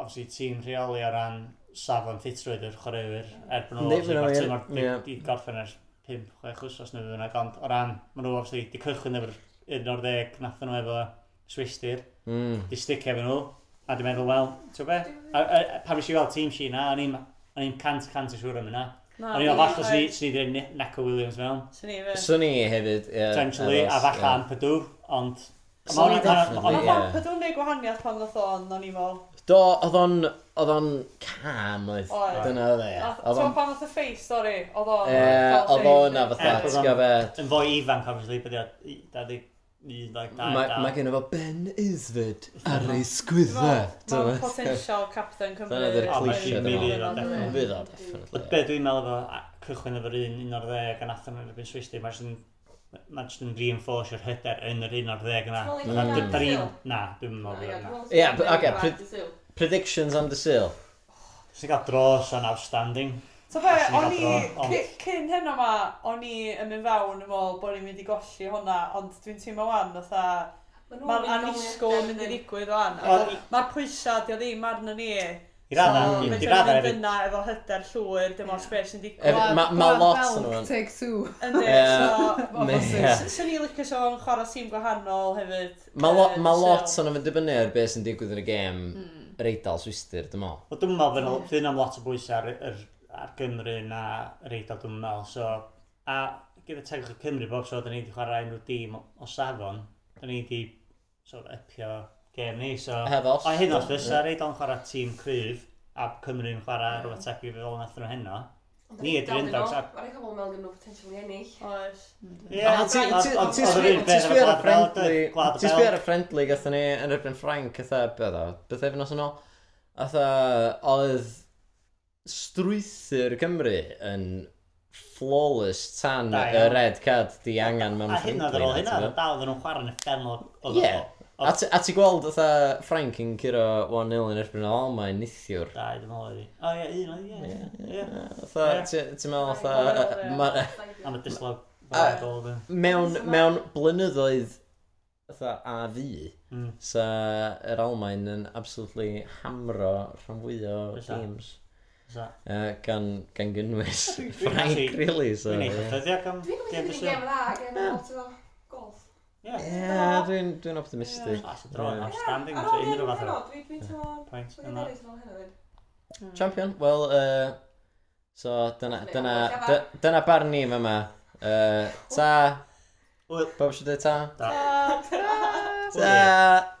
Speaker 5: obviously, tîm rheoli o ran safon ffitrwydd yr chwaraewyr er bod nhw
Speaker 4: Yndi,
Speaker 5: obviously,
Speaker 4: ma'
Speaker 5: ma'r
Speaker 4: hwnna'n
Speaker 5: tîm ar-
Speaker 4: wir, ie.
Speaker 5: di- di gorffen ers 5-6 wsos neu fyna, ond o ran, maen nhw obviously di cychwyn efo'r 11 nath nhw efo swistir,
Speaker 4: Mm.
Speaker 5: di sticio efo nhw, a di meddwl, wel, ti'n be? A- a- a- Pan wnes i weld tîm si na, o'n i'n- o'n i'n cant cant i siwr am yna. O'n i'n falle swn i- swn i ddim Neco Williams mewn,
Speaker 6: Swn i fe.
Speaker 4: Swn i hefyd, ie.
Speaker 5: potentially, a
Speaker 4: aros,
Speaker 5: falle
Speaker 4: ie.
Speaker 5: am Pydw, ond...
Speaker 4: Swn i
Speaker 5: Ma' hwnna- ma' hwnna-
Speaker 4: definitely,
Speaker 5: ma'
Speaker 6: Ond
Speaker 5: hwnna-
Speaker 4: ie.
Speaker 6: oedd o'n gwneud gwahaniaeth pan ddoth o'n, o'n i'n fel.
Speaker 4: Do, oedd o'n, oedd o'n cam, oedd.
Speaker 6: Oedd.
Speaker 4: Dyna oedd e. Oedd
Speaker 6: Ti'n
Speaker 4: o'n,
Speaker 6: pan ddoth y face, sori, oedd o'n.
Speaker 4: e, oedd o'n a fatha,
Speaker 5: Ie, oedd o'n-
Speaker 4: ti'n gael fe.
Speaker 5: yn fwy ifanc, obviously, bydd i 21, 22.
Speaker 4: Mae gen i fo Ben Isfyd ar ei sgwydda.
Speaker 6: Mae'n potential captain Cymru.
Speaker 4: Dyna ydy'r
Speaker 5: O, mae
Speaker 4: cliché
Speaker 5: Jimmy
Speaker 4: dyma.
Speaker 5: Lee
Speaker 6: Dyna
Speaker 5: oedd definitely.
Speaker 6: ydy.
Speaker 4: Fydd o, definitely.
Speaker 5: Be dwi'n meddwl efo a- cychwyn efo'r un un o'r ddeg a nath o'n erbyn Swisty, mae jyst yn mae jyst yn reinforce yr hyder yn yr un o'r ddeg yna.
Speaker 8: Ti'n
Speaker 5: Na,
Speaker 8: meddwl
Speaker 5: dy-
Speaker 8: i
Speaker 5: dy'r
Speaker 8: Brazil?
Speaker 5: un- Na, dwi'n meddwl bod yna.
Speaker 4: Ie, b- ocê, pryd- Predictions am dy sil.
Speaker 5: Sy'n cael dros yn outstanding.
Speaker 6: So fe,
Speaker 5: Allan
Speaker 6: o'n
Speaker 5: i
Speaker 6: i,
Speaker 5: adro, ond-
Speaker 6: cy- cyn hynna ma, o'n i yn mynd fewn yn ôl bod i'n mynd i golli hwnna, ond dwi'n teimlo wan, fatha, mae'r anisgwl yn mynd i ddigwydd wan, a
Speaker 5: Wel,
Speaker 6: fel- mae'r pwysau, di o ddim arno ni,
Speaker 5: I
Speaker 6: so
Speaker 5: radda, i
Speaker 6: fedrwn ni
Speaker 5: radda
Speaker 6: fynd
Speaker 5: hefyd.
Speaker 6: yna efo hyder llwyr, dim ond space yn digwydd.
Speaker 4: Ef- ma- ma' lot yn hwn.
Speaker 7: Take two.
Speaker 6: Yndi, so,
Speaker 4: Ie.
Speaker 6: s- swn i'n licio so yn chwarae tîm gwahanol hefyd.
Speaker 4: Mae lo,
Speaker 6: yy,
Speaker 4: ma
Speaker 6: so-
Speaker 4: lot o'n fynd dibynnu ar beth sy'n digwydd yn y gêm yr eidl swistir, dim ond.
Speaker 5: Wel, dwi'n meddwl fydd fydd am lot o bwysau ar, ar, ar Gymru na yr eidl, dwi'n meddwl. So, a gyda tegwch y Cymru bob tro, da ni wedi chwarae unrhyw dîm o safon, da ni wedi sort of, upio gêm ni. So,
Speaker 4: Hefos.
Speaker 5: o hyn os fysa yr eidl yn chwarae tîm cryf, a Cymru'n chwarae rhywbeth tebyg fel nath nhw heno. Ni ydy'r un dawns ar-
Speaker 8: Mae'n cael mewn nhw potential i ennill.
Speaker 6: Oes.
Speaker 5: Ie,
Speaker 4: A ti-
Speaker 5: ond-
Speaker 4: ti-
Speaker 5: ond-
Speaker 4: ti sbi-
Speaker 5: ond yr un
Speaker 4: ti
Speaker 5: peth
Speaker 4: sbio ar y
Speaker 5: efo Gwlad y
Speaker 4: friendly-
Speaker 5: Bel- Gwlad y
Speaker 4: ti sbio
Speaker 5: Bel.
Speaker 4: ar y friendly gatho ni yn erbyn Frank atha beth o beth efnos yn ôl atha oedd strwythyr Cymru yn flawless tan
Speaker 5: Da
Speaker 4: y
Speaker 5: iawn.
Speaker 4: red card di angen mewn
Speaker 5: A hyn oedd ar ôl hynna, oedd
Speaker 4: friendly
Speaker 5: dal ddyn nhw'n chwarae'n effernol o
Speaker 4: Ie. a ti- a ti gweld atha Frank yn curo 1-0 yn erbyn o mae'n nithiwr
Speaker 5: Da, dwi'n meddwl iddi. O ie, un oedd, ie, ie.
Speaker 4: atha
Speaker 5: Ie.
Speaker 4: ti- ti'n meddwl atha
Speaker 6: Ie.
Speaker 4: yy, ma-
Speaker 5: Am y dislog
Speaker 4: A-
Speaker 5: fel gol dyn.
Speaker 4: mewn,
Speaker 8: Fysa-
Speaker 4: mewn blynyddoedd fatha a fi,
Speaker 5: Mm.
Speaker 4: sa yr Almain yn absolutely hamro rhan fwy o
Speaker 5: Fysa.
Speaker 4: games.
Speaker 5: So,
Speaker 4: Uh, gan, gan gynnwys
Speaker 5: Dwi'n- dwi'n
Speaker 4: Frank,
Speaker 5: actually-
Speaker 4: really, so...
Speaker 5: Dwi'n
Speaker 4: Ie,
Speaker 5: eitha ffyddiog am
Speaker 8: Dwi'n
Speaker 5: Game
Speaker 8: mynd i
Speaker 5: Bus.
Speaker 8: gym dda, gen i lot o golf.
Speaker 5: Ie.
Speaker 4: yeah, dwi'n dwi'n optimistic.
Speaker 5: That's a draw,
Speaker 4: Ie.
Speaker 5: outstanding,
Speaker 8: Ar
Speaker 5: so
Speaker 8: ôl hyn,
Speaker 5: unrhyw fath o
Speaker 8: heno, Dwi'n teimlo...
Speaker 5: pwynt
Speaker 8: Dwi'n
Speaker 5: yna.
Speaker 8: teimlo fel hynny.
Speaker 4: Champion, wel, uh, so dyna,
Speaker 8: Neu,
Speaker 4: dyna,
Speaker 8: wel,
Speaker 4: dy- dyna barn ni fyma. Uh, ta,
Speaker 5: Wel,
Speaker 4: bob eisiau dweud ta?
Speaker 5: da.
Speaker 6: Ta-ta!
Speaker 4: Ta!